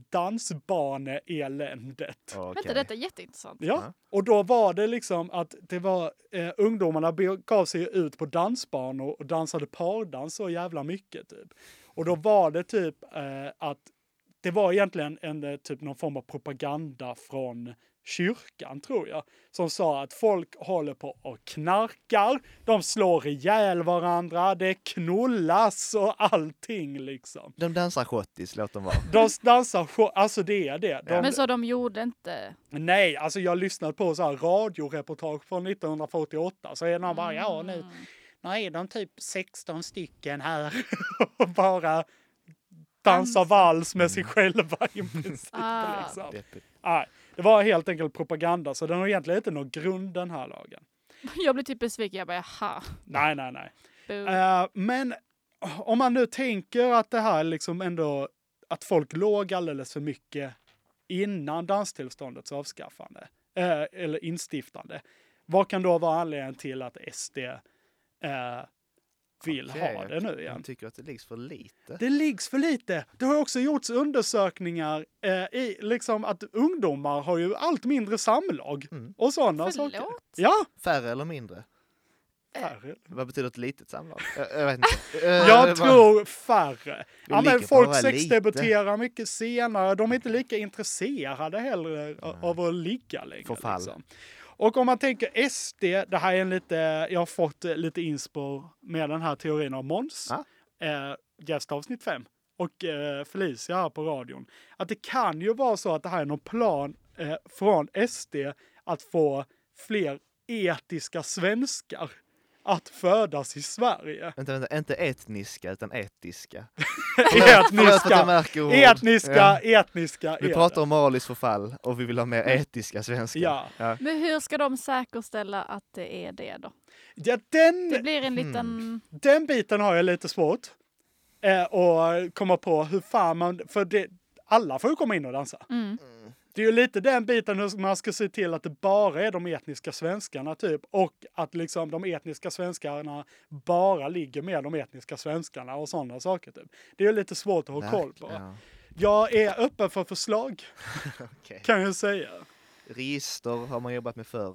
B: dansbaneeländet.
C: Okej.
D: Vänta, detta är jätteintressant.
B: Ja,
C: Ja.
B: och då var det liksom att det var eh, ungdomarna gav sig ut på dansbanor och dansade pardans så jävla mycket typ. Och då var det typ eh, att det var egentligen en eh, typ någon form av propaganda från kyrkan tror jag som sa att folk håller på och knarkar, de slår ihjäl varandra, det knullas och allting liksom.
C: De dansar schottis, låt dem vara.
B: De dansar, show- alltså det är det. De,
D: Men så de gjorde inte...
B: Nej, alltså jag lyssnade på så här radioreportage från 1948 så är någon bara ja nu, nu är de typ 16 stycken här och bara dansar vals med sig själva i princip.
D: Ah.
B: Liksom.
C: Deppigt.
B: Nej, det var helt enkelt propaganda så den har egentligen inte någon grund den här lagen.
D: Jag blev typ besviken, jag bara jaha.
B: Nej, nej, nej.
D: boo.
B: Eh, men eh, om man nu tänker att det här liksom ändå, att folk låg alldeles för mycket innan danstillståndets avskaffande, eh, eller instiftande. Vad kan då vara anledningen till att SD eh, vill
C: Okej,
B: ha
C: jag-
B: det nu igen?
C: De tycker att det liggs för lite.
B: Det liggs för lite. Det har också gjorts undersökningar eh, i liksom att ungdomar har ju allt mindre samlag och sådana saker.
D: Förlåt?
B: Ja,
C: Färre eller mindre?
B: färre.
C: Vad betyder ett litet samlag? jag, jag vet inte. Eh,
B: Jag
C: vad-
B: tror färre. Ja, men
C: ligger
B: folk
C: bara
B: sexdebuterar mycket senare. De är inte lika intresserade heller av att ligga längre. liksom.
C: Förfall.
B: Och om man tänker SD, det här är en lite, jag har fått eh, lite inspo med den här teorin av Måns,
C: Ja.
B: eh, gäst avsnitt 5, och eh, Felicia här på radion. Att det kan ju vara så att det här är någon plan eh, från SD att få fler etiska svenskar att födas i Sverige.
C: Vänta, vänta, inte etniska utan etiska. Förlåt att jag
B: etniska,
C: märker ord.
B: etniska,
C: Ja.
B: etniska. är
C: Vi
B: det. Mm.
C: pratar om Malis förfall och vi vill ha mer etiska svenskar.
B: Ja.
C: Ja.
D: Men hur ska de säkerställa att det är det då?
B: Ja, den,
D: Det blir en liten...
B: den biten har jag lite svårt eh, att komma på hur fan man... För det, alla får ju komma in och dansa. Det är ju lite den biten hur man ska se till att det bara är de etniska svenskarna typ och att liksom de etniska svenskarna bara ligger med de etniska svenskarna och sådana saker typ. Det är ju lite svårt att ha koll på.
C: Ja.
B: Jag är öppen för förslag
C: Okej.
B: kan jag säga.
C: Register har man jobbat med förr.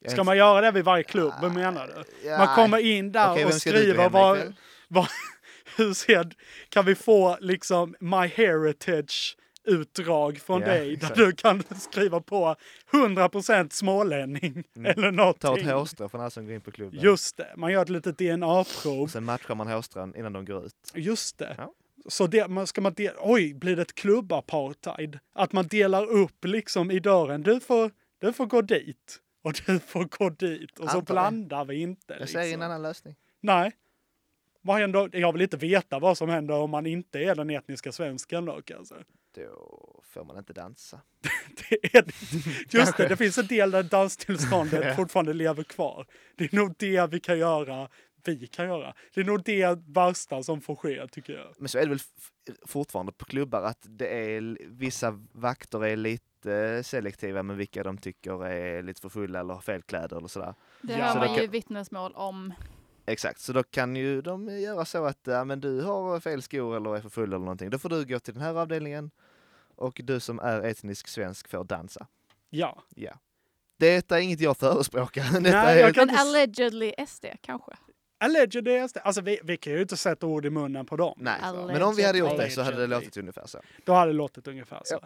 C: Jag
B: Ska
C: vet-
B: man göra det vid varje klubb? Vad menar du?
C: Ah, Ja.
B: Man kommer in där
C: Okej,
B: och
C: vem ska dit då,
B: skriver
C: Henrik?
B: vad, vad, hur ser, kan vi få liksom My Heritage utdrag från
C: Ja,
B: dig
C: exakt.
B: där du kan skriva på 100% smålänning eller
C: Mm. Ta ett
B: någonting.
C: hårstrå från alla som går in på klubben.
B: Just det, man gör ett litet DNA-prov.
C: Och sen matchar man hårstrån innan de går ut.
B: Just det.
C: Ja.
B: Så det, man, ska man del, oj, blir det ett klubbapartheid? Att man delar upp liksom i dörren. Du får, du får gå dit. och du får gå dit. Och så
C: Antar det.
B: blandar vi inte.
C: Jag ser
B: liksom.
C: ingen annan lösning.
B: Nej. Vad händer? Jag vill inte veta vad som händer om man inte är den etniska svensken då kanske.
C: Då får man inte dansa.
B: Det är, just det, det finns en del där danstillståndet fortfarande lever kvar. Det är nog det vi kan göra, vi kan göra. Det är nog det värsta som får ske tycker jag.
C: Men så är det väl f- fortfarande på klubbar att det är l- vissa vakter är lite selektiva med vilka de tycker är lite för fulla eller har fel kläder eller sådär.
D: Det
B: Ja. Så
D: hör
B: det
D: man ju
C: kan-
D: vittnesmål om.
C: Exakt, så då kan ju de göra så att ja, men du har fel skor eller är för full eller någonting. Då får du gå till den här avdelningen och du som är etnisk svensk får dansa.
B: Ja.
C: Ja. Detta är inget jag förespråkar. Detta
B: Nej,
C: är...
B: jag kan inte...
D: Men
B: s-
D: allegedly SD kanske?
B: Alleged är det. Alltså vi, vi kan ju inte sätta ord i munnen på dem.
C: Nej. Men om vi hade gjort det så hade det
B: Allegedly.
C: låtit ungefär så.
B: Då hade det låtit ungefär så.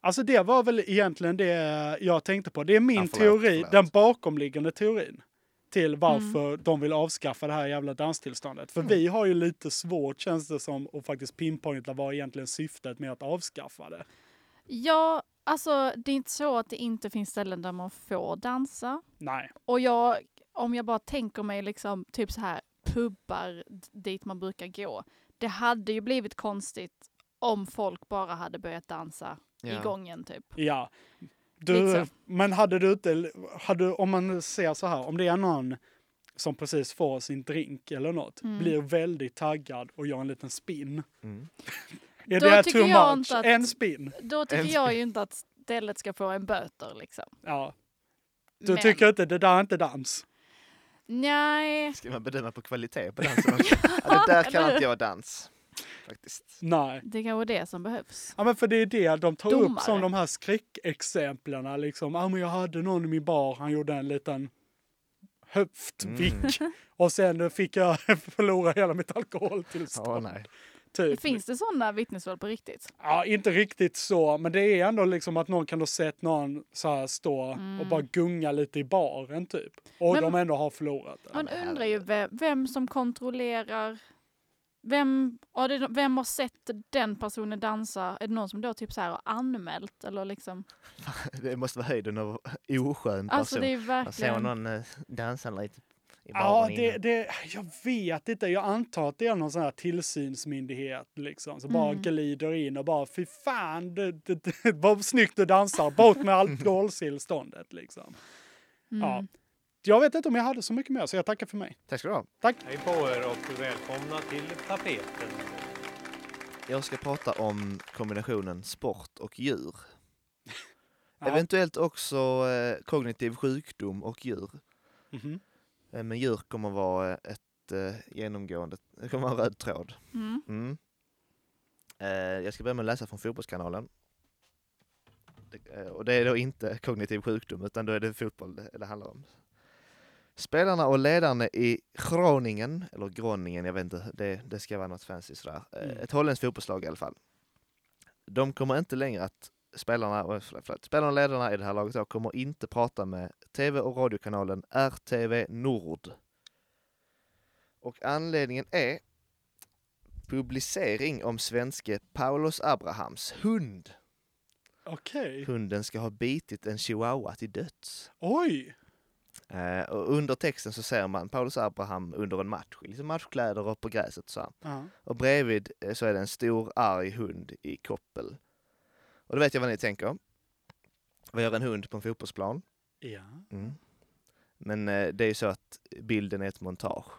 B: Alltså det var väl egentligen det jag tänkte på. Det är min
C: Ja, förlåt,
B: teori,
C: förlåt.
B: den bakomliggande teorin till varför de vill avskaffa det här jävla danstillståndet. För vi har ju lite svårt känns det som att faktiskt pinpointa vad egentligen syftet med att avskaffa det.
D: Ja, alltså det är inte så att det inte finns ställen där man får dansa.
B: Nej,
D: Och jag, om jag bara tänker mig liksom typ så här pubbar d- dit man brukar gå. Det hade ju blivit konstigt om folk bara hade börjat dansa i gången typ.
B: ja. Du,
D: Lite
B: men hade du inte, hade, om man ser så här, om det är någon som precis får sin drink eller något,
D: Mm.
B: blir väldigt taggad och gör en liten spin.
C: Mm.
B: är
D: Då
B: det
D: tycker
B: too
D: jag
B: much?
D: inte att-
B: En spin?
D: Då tycker jag ju inte att stället ska få en böter liksom.
B: Ja. Du
D: Men-
B: tycker inte det där är inte dans?
D: Nej,
C: Ska man bedöma på kvalitet på dansen också? ja, det där kan
D: eller
C: inte jag dans. Faktiskt.
B: Nej.
D: det kanske är det som behövs.
B: Ja men för det är det de tar upp
D: Domare.
B: som de här skräckexemplen. Liksom, ah, men jag hade någon i min bar, han gjorde en liten
D: Mm.
B: höftvick och sen fick jag förlora hela mitt alkoholtillstånd.
C: Ja, nej.
B: Typ.
D: Finns det sådana vittnesmål på riktigt?
B: Ja, inte riktigt så, men det är ändå liksom att någon kan ha sett någon så här stå och bara gunga lite i baren typ. Och
D: Men-
B: de ändå har förlorat. det.
D: Man undrar ju vem, vem som kontrollerar. Vem, ja, det, är no- vem har sett den personen dansa? Är det någon som då typ så här har anmält? Eller liksom?
C: Det måste vara höjden av oskön person.
D: Alltså det är
C: jag såg
D: verkligen...
C: någon eh, dansa lite i
B: Ja,
C: baren
B: det,
C: innan.
B: det, jag vet inte. Jag antar att det är någon sån här tillsynsmyndighet liksom, som bara glider in och bara fy fan, det, det, det, vad snyggt du dansar, bort med alkoholtillståndet liksom. Ja. Jag vet inte om jag hade så mycket mer, så jag tackar för mig.
C: Tack ska du ha.
H: Hej på er och välkomna till tapeten.
C: Jag ska prata om kombinationen sport och djur.
B: Ja.
C: Eventuellt också eh, kognitiv sjukdom och djur.
B: Mhm.
C: Eh, Men djur kommer vara eh, ett eh, genomgående, det kommer vara en röd tråd.
D: Mm.
C: Mm. Eh, jag ska börja med att läsa från Fotbollskanalen. Det, eh, och det är då inte kognitiv sjukdom, utan då är det fotboll det, det handlar om. Spelarna och ledarna i Groningen, eller Groningen, jag vet inte, det, det ska vara något fancy sådär. Eh,
B: Mm.
C: Ett holländskt fotbollslag i alla fall. De kommer inte längre att, spelarna, oj, förlåt, förlåt, spelarna och ledarna i det här laget då, kommer inte prata med tv och radiokanalen RTV Nord. Och anledningen är publicering om svenske Paulus Abrahams hund.
B: Okej.
C: Hunden ska ha bitit en chihuahua till döds.
B: Oj!
C: Eh, och under texten så ser man Paulus Abraham under en match, i liksom matchkläder och på gräset. Så här.
B: Ja.
C: Och bredvid eh, så är det en stor arg hund i koppel. Och då vet jag vad ni tänker. Vad gör en hund på en fotbollsplan?
B: ja.
C: Mm. Men eh, det är ju så att bilden är ett montage.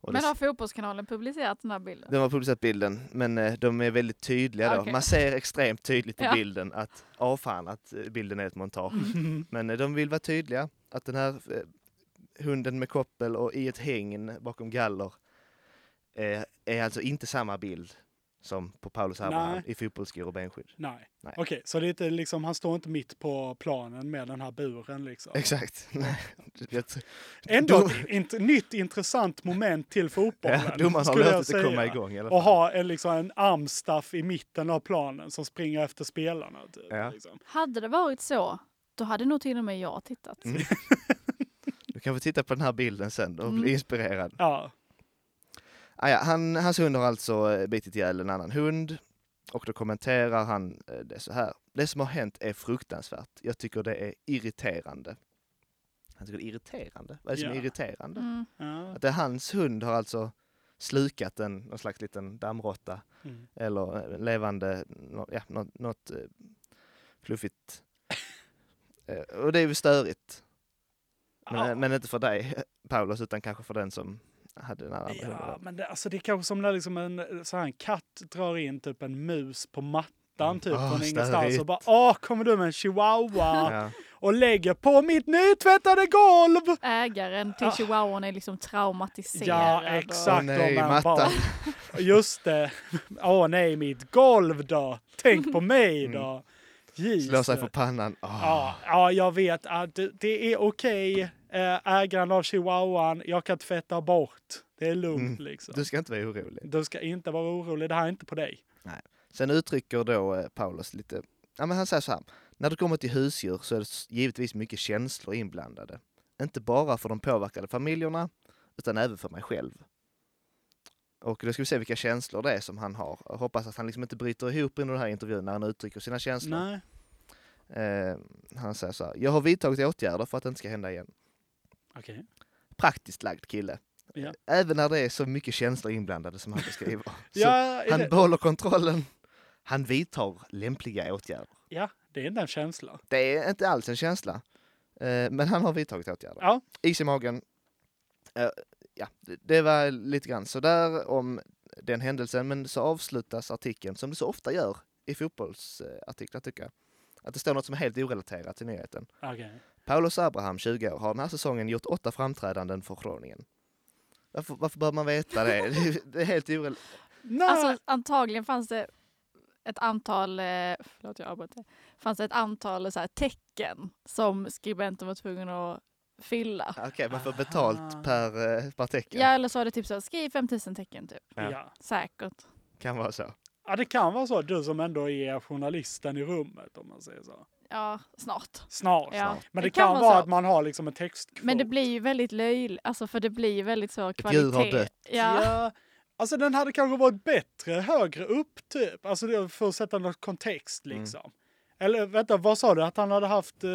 C: Och
D: Men
C: det-
D: har Fotbollskanalen publicerat den här bilden?
C: De har publicerat bilden, men eh, de är väldigt tydliga då.
D: Okej.
C: Man ser extremt tydligt på
D: Ja.
C: bilden att, ja fan, att eh, bilden är ett montage. Men eh, de vill vara tydliga att den här eh, hunden med koppel och i ett hägn bakom galler eh, är alltså inte samma bild som på Paulus Abraham
B: Nej.
C: i fotbollsskor och benskydd.
B: Nej.
C: Nej.
B: Okej, så det är inte, liksom, han står inte mitt på planen med den här buren liksom.
C: Exakt. Nej, jag tror-
B: Ändå ett int- nytt intressant moment till fotbollen.
C: ja, domaren har
B: skulle jag
C: låtit det komma
B: säga.
C: igång i alla fall.
B: Och ha en, liksom, en armstaff i mitten av planen som springer efter spelarna. Typ,
C: Ja.
B: liksom.
D: Hade det varit så, då hade nog till och med jag tittat.
C: Mm. Du kan få titta på den här bilden sen och
B: Mm.
C: bli inspirerad.
B: ja.
C: Ah, ja, han, hans hund har alltså eh, bitit ihjäl en annan hund och då kommenterar han eh, det så här. Det som har hänt är fruktansvärt. Jag tycker det är irriterande. han tycker det är irriterande. Vad är det som är
B: Ja.
C: irriterande?
D: Mm.
B: Ja.
C: Att det är hans hund har alltså slukat en någon slags liten dammråtta
B: Mm.
C: eller en levande, nå- ja, något, något eh, fluffigt. Eh, Och det är ju störigt. Men, eh,
B: Ja.
C: men inte för dig Paulus utan kanske för den som hade den här andra
B: Ja,
C: hunden.
B: men det, alltså det är kanske som när liksom en, så här, en katt drar in typ en mus på mattan typ
C: Ah,
B: från ingenstans och
C: störigt.
B: bara åh, kommer du med en chihuahua
C: Ja.
B: och lägger på mitt nytvättade golv?
D: Ägaren till
B: Ah.
D: chihuahuan är liksom traumatiserad.
B: Ja,
D: och-
B: exakt.
C: Åh nej,
B: de är
C: mattan.
B: barn. Just det. Åh nej, mitt golv då. Tänk på mig då. Jesus.
C: Slår Mm. sig för pannan. Ah, Åh.
B: Ja, ja, jag vet. Ja, det, det är okej. Eh, Ägaren av chihuahuan, jag kan tvätta bort. Det är lugnt liksom.
C: Mm. Du ska inte vara orolig.
B: Du ska inte vara orolig, det här är inte på dig.
C: Sen uttrycker då eh, Paulus lite, ja men han säger så här. När det kommer till husdjur så är det s- givetvis mycket känslor inblandade. Inte bara för de påverkade familjerna utan även för mig själv. Och då ska vi se vilka känslor det är som han har. Jag hoppas att han liksom inte bryter ihop under den här intervjun när han uttrycker sina känslor.
B: Nej.
C: Eh, han säger så här. Jag har vidtagit åtgärder för att det inte ska hända igen.
B: Okej.
C: Praktiskt lagd kille.
B: Ja.
C: Även när det är så mycket känslor inblandade som han beskriver. Så
B: Ja, är
C: han
B: det,
C: behåller kontrollen. Han vidtar lämpliga åtgärder.
B: ja, det är inte en känsla.
C: Det är inte alls en känsla. Eh, Men han har vidtagit åtgärder.
B: Ja.
C: Is i magen. Eh, Ja, det- det var lite grann sådär om den händelsen. Men så avslutas artikeln, som det så ofta gör i fotbollsartiklar tycker jag. Att det står något som är helt orelaterat till nyheten.
B: Okej.
C: Paulus Abraham, 20 år, har den här säsongen gjort åtta framträdanden för Groningen. Varför, varför bör man veta det? Det är- Det är helt orel...
B: Nej.
D: Alltså antagligen fanns det ett antal, eh, förlåt jag avbryter, fanns det ett antal så här, tecken som skribenten var tvungen att fylla.
C: Okej, man får
B: Aha. Ah.
C: betalt per, eh, per tecken.
D: Ja eller så var det typ så här, skriv 5000 tecken typ.
C: Ja.
B: ja.
D: Säkert.
C: Kan vara så.
B: ja, det kan vara så. Du som ändå är journalisten i rummet om man säger så.
D: Ja, snart.
B: Snart.
D: Ja.
B: Men det, kan, vara,
D: så.
B: att man har liksom en textkvot.
D: Men det blir ju väldigt löjligt, alltså för det blir ju väldigt så kvalitet.
C: djur har dött.
D: Ja.
B: Alltså den hade kanske varit bättre högre upp typ. Alltså det för att sätta något kontext
C: Mm.
B: liksom. Eller vänta, vad sa du? Att han hade haft... eh,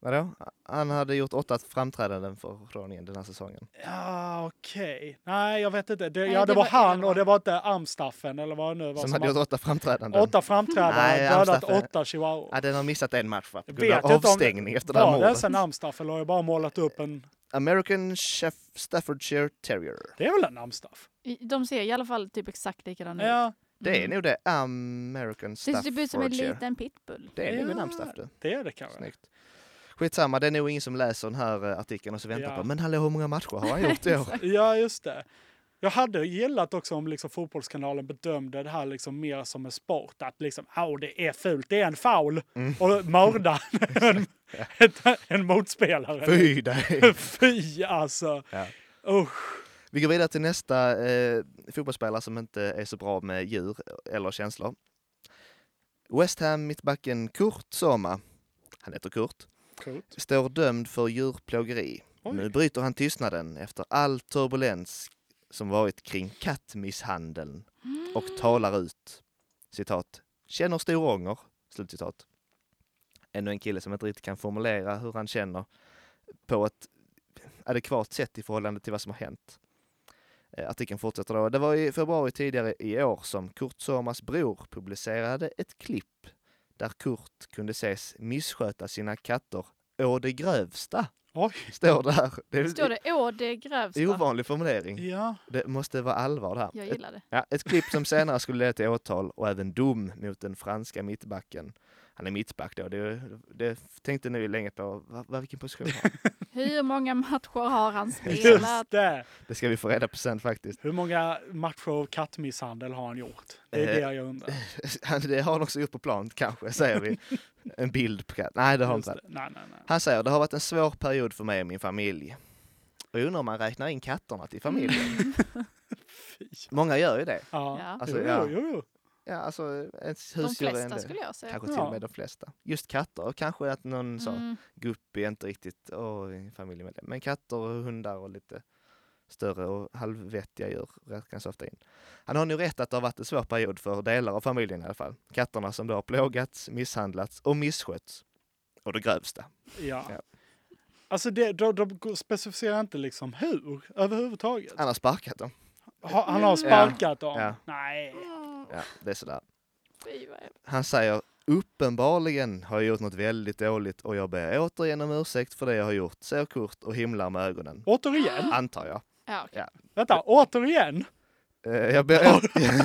C: Vadå? Han hade gjort åtta framträdanden för Groningen den här säsongen.
B: Ja, okej. Nej, jag vet inte. Det,
D: Nej,
B: ja, det,
D: det
B: var,
D: var
B: han
D: Elva.
B: och det var inte Amstaffen eller vad det nu var.
C: Som hade gjort åtta framträdanden.
B: åtta framträdanden,
C: Nej,
B: dödat
C: Amstaffen-
B: åtta chihuahuor.
C: Ja, den har missat en match va? På
B: Jag
C: grund
B: vet
C: av
B: inte om-
C: avstängning efter det här
B: Var det
C: mordet.
B: ens en Amstaff eller har jag bara målat upp en...
C: American Chef Staffordshire Terrier.
B: Det är väl en Amstaff?
D: De ser i alla fall typ exakt likadana ut.
B: Ja,
C: Det
B: Mm.
C: är nog det. American
D: Det ser typ ut som en
C: Staffordshire.
D: liten pitbull.
C: Det är nog en
B: Ja.
C: namnstaff du.
B: det är det kanske.
C: Snyggt. Skitsamma, det är nog ingen som läser den här eh, artikeln och så väntar
B: Ja.
C: på men hallå hur många matcher har han gjort i år?
B: Ja, just det. Jag hade gillat också om liksom fotbollskanalen bedömde det här liksom mer som en sport. Att liksom, "Au, det är fult, det är en foul.
C: Mm.
B: Och mörda en, en, en motspelare.
C: Fy dig!
B: Fy alltså.
C: Ja.
B: Usch.
C: Vi går vidare till nästa eh, fotbollsspelare som inte är så bra med djur eh, eller känslor. West Ham mittbacken Kurt Soma, han heter Kurt,
B: Coolt.
C: står dömd för djurplågeri.
B: Oj.
C: Nu bryter han tystnaden efter all turbulens som varit kring kattmisshandeln och
D: Mm.
C: talar ut. Citat. Känner stor ånger. Slutcitat. Ännu en kille som inte riktigt kan formulera hur han känner på ett adekvat sätt i förhållande till vad som har hänt. Eh, Artikeln fortsätter då. Det var i februari tidigare i år som Kurt Somas bror publicerade ett klipp där Kurt kunde ses missköta sina katter å det grövsta.
B: Oj.
C: Står där. Det är
D: Står det å det grövsta?
C: en ovanlig formulering.
B: Ja.
C: Det måste vara allvar det här.
D: Jag
C: Ett-
D: gillar det.
C: Ja, ett klipp som senare skulle leda till åtal och även dom mot den franska mittbacken. Han är mittback då, det, det tänkte nu länge på, vad, vad, vilken position har han?
D: Hur många matcher har han spelat?
B: Just det.
C: Det ska vi få reda på sen faktiskt.
B: Hur många matcher av kattmisshandel har han gjort? Det är
C: Eh,
B: det jag undrar.
C: Han- Det har han också gjort på plan kanske, säger vi. En bild på katt. Nej, det har han
B: Just
C: inte.
B: det. Nej, nej, nej.
C: Han säger, det har varit en svår period för mig och min familj. Och jag undrar om man räknar in katterna till familjen. Många gör ju det.
B: Ja.
D: Ja.
C: Alltså,
B: jo,
C: ja.
B: jo, jo.
C: Ja, alltså, ens
D: De
C: husdjur är en
D: flesta
C: del.
D: skulle jag säga.
C: Kanske till
B: Ja.
C: och med de flesta. Just katter, och kanske att någon sa,
D: Mm.
C: guppy är inte riktigt oh, familjemedlem. Men katter och hundar och lite större och halvvettiga djur räknas ofta in. Han har nu rätt att det har varit en svår period för delar av familjen i alla fall. Katterna som då har plågats, misshandlats och misskötts. Och det grövsta.
B: Ja.
C: Ja.
B: Alltså det, de, de specificerar inte liksom hur överhuvudtaget.
C: Han har sparkat dem.
B: Ha, han har sparkat dem.
C: Ja.
B: Nej.
C: Ja, det är sådär.
D: Fy, vad hemskt.
C: Han säger uppenbarligen har jag gjort något väldigt dåligt och jag ber återigen om ursäkt för det jag har gjort. Ser Kurt och himlar med ögonen.
B: Återigen.
C: Antar jag.
D: Ja, okej.
B: Vänta, återigen.
C: Eh, Jag ber,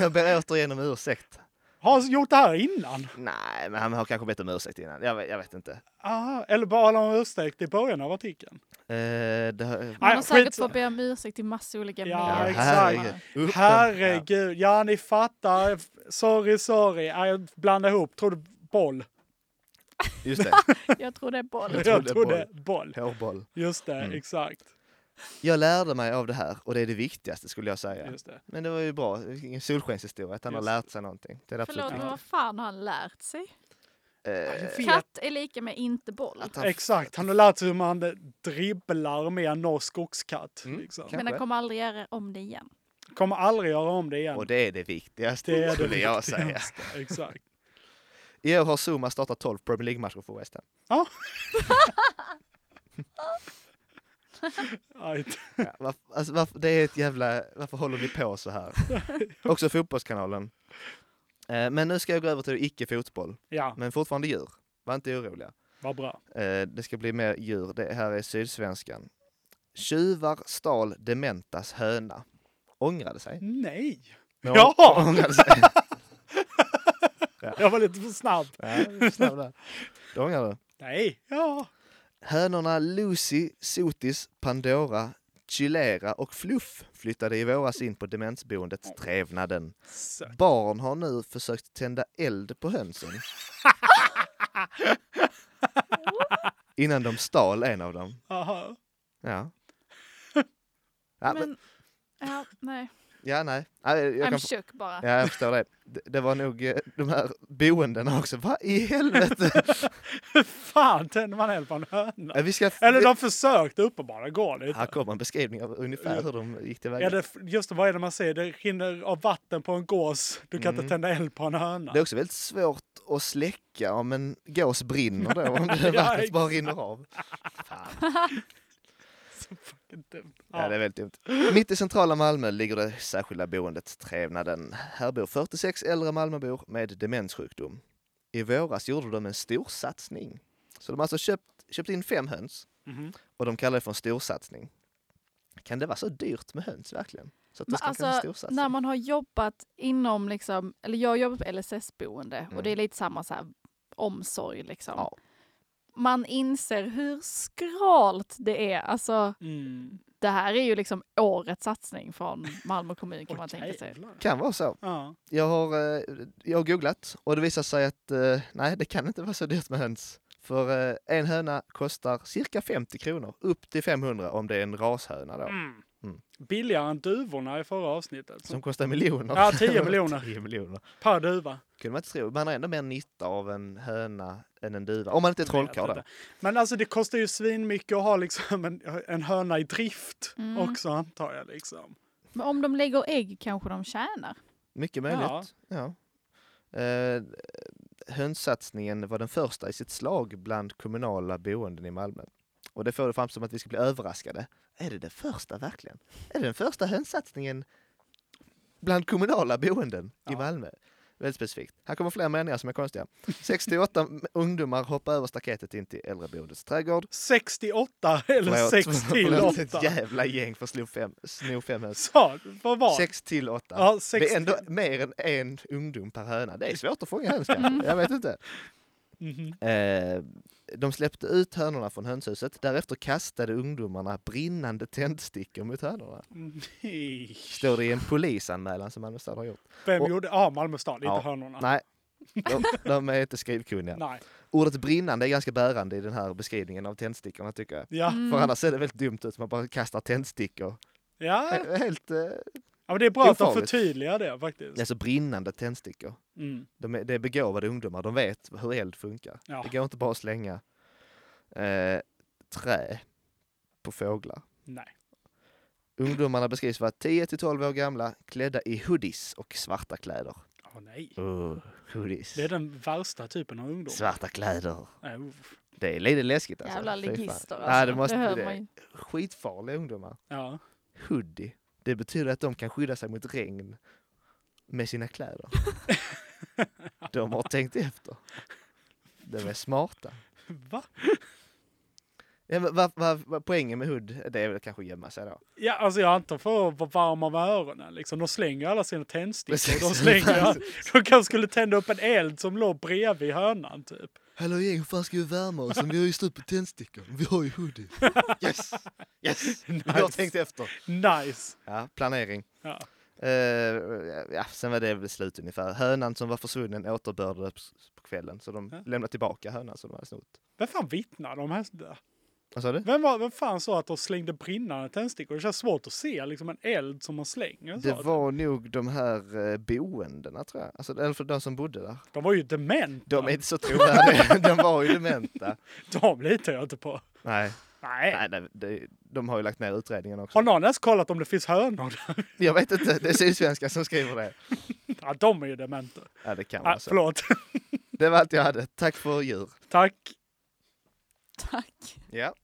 C: jag ber återigen om ursäkt.
B: Har han gjort det här innan?
C: Nej, men han har kanske bett om ursäkt innan. Jag vet, jag vet inte.
B: Aha, eller bara om ursäkt i början av artikeln.
C: Eh, det har,
D: Man
B: Nej,
D: har säkert
B: skitsa-
D: fått be om ursäkt till massa olika
B: Ja,
D: medier.
B: exakt.
C: herregud. Uppen-
B: Herregud, ja ni fattar. F- Sorry, sorry. Ja, Jag blandade ihop, trodde boll.
C: Ja, just det.
D: Jag tror det är boll.
B: Jag
C: Jag
B: trodde,
C: trodde Mm.
B: boll.
C: Hårboll.
B: Just det, exakt.
C: Jag lärde mig av det här och det är det viktigaste skulle jag säga.
B: Just det.
C: Men det var ju bra. Ingen solskenshistoria att han
B: Just
C: har lärt sig någonting. Det är det absolut
D: Förlåt, men
C: viktigaste.
D: vad fan har han lärt sig?
C: Eh,
B: Jag vet
D: Katt är lika med inte boll.
C: att han-
B: Exakt, han har lärt sig hur man eh, dribblar med en norsk skogskatt. Liksom.
C: kan-
D: Men han
C: kanske.
D: kommer aldrig göra om det igen.
B: Kommer aldrig göra om det igen.
C: Eh, Och det är det viktigaste
B: Det är det
C: skulle jag säga.
B: viktigaste, Exakt.
C: I år har Zuma startat 12 Premier League-matcher för West Ham.
B: Ja. Aj,
C: Ja, varför, alltså, varför, det är ett jävla... Varför håller vi på så här? Också Fotbollskanalen. Eh, men nu ska jag gå över till icke-fotboll.
B: ja,
C: Men fortfarande djur. Var inte oroliga.
B: vad bra.
C: Eh, det ska bli mer djur. Det här är Sydsvenskan. Tjuvar stal dementas höna. Ångrade sig.
B: Nej,
C: Men
B: Ja!
C: ång- Ångrade sig.
B: jag var lite för snabb.
C: Ja, snabb där. Det ångrar du.
B: Nej, ja.
C: Hönorna Lucy, Sotis, Pandora, Chilera och Fluff flyttade i våras in på demensboendet Trevnaden.
B: Så.
C: Barn har nu försökt tända eld på hönsen. Innan de stal en av dem.
B: Aha.
C: Ja. Ja, men,
D: Men, ja, nej.
C: ja nej. Ja, Jag,
D: I'm
C: kan,
D: shook bara.
C: ja, jag förstår det. det. Det var nog eh, de här boendena också. Vad i helvete?
B: Hur fan tänder man eld på en höna?
C: Ja, Vi ska,
B: Eller de försökte uppenbarligen, går det
C: Här
B: inte?
C: kommer en beskrivning av ungefär hur de gick tillväga.
B: Ja, det, just det, vad är det man säger? Det rinner av vatten på en gås. Du kan inte tända eld på en höna.
C: Mm. Det är också väldigt svårt att släcka om en gås brinner då, om det
B: Ja,
C: vattnet bara rinner av. Fan.
B: Dumt.
C: Ja, det är väldigt dumt. Mitt i centrala Malmö ligger det särskilda boendet Trevnaden. Här bor 46 äldre Malmöbor med demenssjukdom. I våras gjorde de en storsatsning. Så de har alltså köpt, köpt in fem höns
B: Mhm.
C: och de kallar det för en storsatsning. Kan det vara så dyrt med höns verkligen? Så att det
D: Men
C: ska alltså, en
D: alltså,
C: storsatsning?
D: när man har jobbat inom, liksom, eller jag jobbar på LSS-boende och
C: Mm.
D: det är lite samma så här, omsorg. Liksom.
C: Ja.
D: Man inser hur skralt det är. Alltså,
B: Mm.
D: det här är ju liksom årets satsning från Malmö kommun kan
B: Åh,
D: man tänka sig.
B: jävlar.
C: Kan vara så.
B: Ja.
C: jag har, eh, jag har googlat och det visar sig att eh, nej, det kan inte vara så dyrt med höns. För eh, en höna kostar cirka 50 kronor, upp till 500 om det är en rashöna då.
B: Mm.
C: Mm.
B: Billigare än duvorna i förra avsnittet.
C: Som kostar miljoner.
B: Ja, 10 miljoner.
C: 10 miljoner.
B: Per duva.
C: Kunde man inte tro. Man har ändå mer nytta av en höna än en duva. Om man inte är trollkarl
B: Vet
C: då.
B: inte. Men alltså det kostar ju svin mycket att ha liksom en, en höna i drift
D: Mm.
B: också antar jag liksom.
D: Men om de lägger ägg kanske de tjänar.
C: Mycket möjligt. Ja. Eh, hönssatsningen var den första i sitt slag bland kommunala boenden i Malmö. Och det får det fram som att vi ska bli överraskade. Är det den första verkligen? Är det den första hönssatsningen bland kommunala boenden i Malmö? Väldigt specifikt. Här kommer fler meningar som är konstiga. 68 ungdomar hoppar över staketet in till äldreboendets trädgård.
B: 68 eller
C: Förlåt,
B: 6 till
C: förlåt, Ett
B: 8.
C: jävla gäng för sno fem, sno fem höns.
B: Så, vad var det?
C: 6 till 8.
B: Ja, sex
C: det är ändå
B: till-
C: mer än en ungdom per höna. Det är svårt att fånga höns kanske. Jag vet inte.
B: Mhm.
C: Eh, de släppte ut hönorna från hönshuset. Därefter kastade ungdomarna brinnande tändstickor mot hönorna.
B: Nej.
C: Står det i en polisanmälan som Malmö stad har gjort.
B: Vem
C: Och-
B: gjorde? Ja, Malmö stad, inte
C: Ja,
B: hönorna.
C: Nej, de, de är inte skrivkunniga.
B: Nej.
C: Ordet brinnande är ganska bärande i den här beskrivningen av tändstickorna tycker jag.
B: Ja.
C: För annars ser det väldigt dumt ut, man bara kastar tändstickor.
B: Ja.
C: Helt, eh,
B: ja, men det är bra att de
C: Ofarligt.
B: förtydligar det faktiskt.
C: alltså brinnande tändstickor.
B: Mm.
C: De är, det är begåvade ungdomar, de vet hur eld funkar.
B: Ja.
C: Det går inte bara att slänga eh, trä på fåglar.
B: Nej.
C: Ungdomarna beskrivs vara 10 till 12 år gamla, klädda i hoodies och svarta kläder.
B: Åh, nej.
C: Oh, hoodies.
B: Det är den värsta typen av ungdom.
C: Svarta kläder.
B: Nej, uff.
C: Det är lite läskigt alltså.
D: Jävla
C: Fy fan.
D: ligister alltså.
C: Nej, det måste
D: hör
C: det.
D: man ju.
C: Skitfarliga ungdomar.
B: Ja.
C: Hoodie. Det betyder att de kan skydda sig mot regn med sina kläder. de har tänkt efter. De är smarta.
B: Va?
C: Ja, men vad, vad, vad, poängen med hood, det är väl kanske att gömma sig då.
B: Ja, alltså jag antar för att vara varm om öronen liksom. De slänger alla sina tändstickor. De
C: Precis.
B: slänger, de kanske skulle tända upp en eld som låg bredvid hönan typ.
C: Hallå gäng, hur fan ska vi värma oss? Vi har ju slut på tändstickor. Vi har ju hoodie. Yes! Yes! Jag har
B: Nice.
C: tänkt efter.
B: Nice!
C: Ja, planering.
B: Ja.
C: Eh, ja, sen var det väl slut ungefär. Hönan som var försvunnen återbördades på kvällen så de
B: Ja.
C: lämnade tillbaka hönan som de hade snott.
B: Vem fan vittnar de här?
C: Vad sa du?
B: Vem, var, vem fan sa att de slängde brinnande tändstickor? Det känns svårt att se liksom en eld som man slänger.
C: Det
B: Så.
C: var nog de här eh, boendena tror jag. Alltså, eller för de som bodde där.
B: De var ju dementa.
C: De är inte så trovärdiga. de var ju dementa.
B: De litar jag inte på.
C: Nej,
B: Nej.
C: nej nej, det, de har ju lagt ner utredningen också.
B: Har någon ens kollat om det finns hönor?
C: Jag vet inte, det är Sydsvenskan som skriver det.
B: ja, de är ju dementa.
C: Ja, alltså. det kan
B: Ah,
C: vara så.
B: förlåt.
C: Det var allt jag hade. Tack för djur.
B: Tack.
D: Tack.
C: Ja.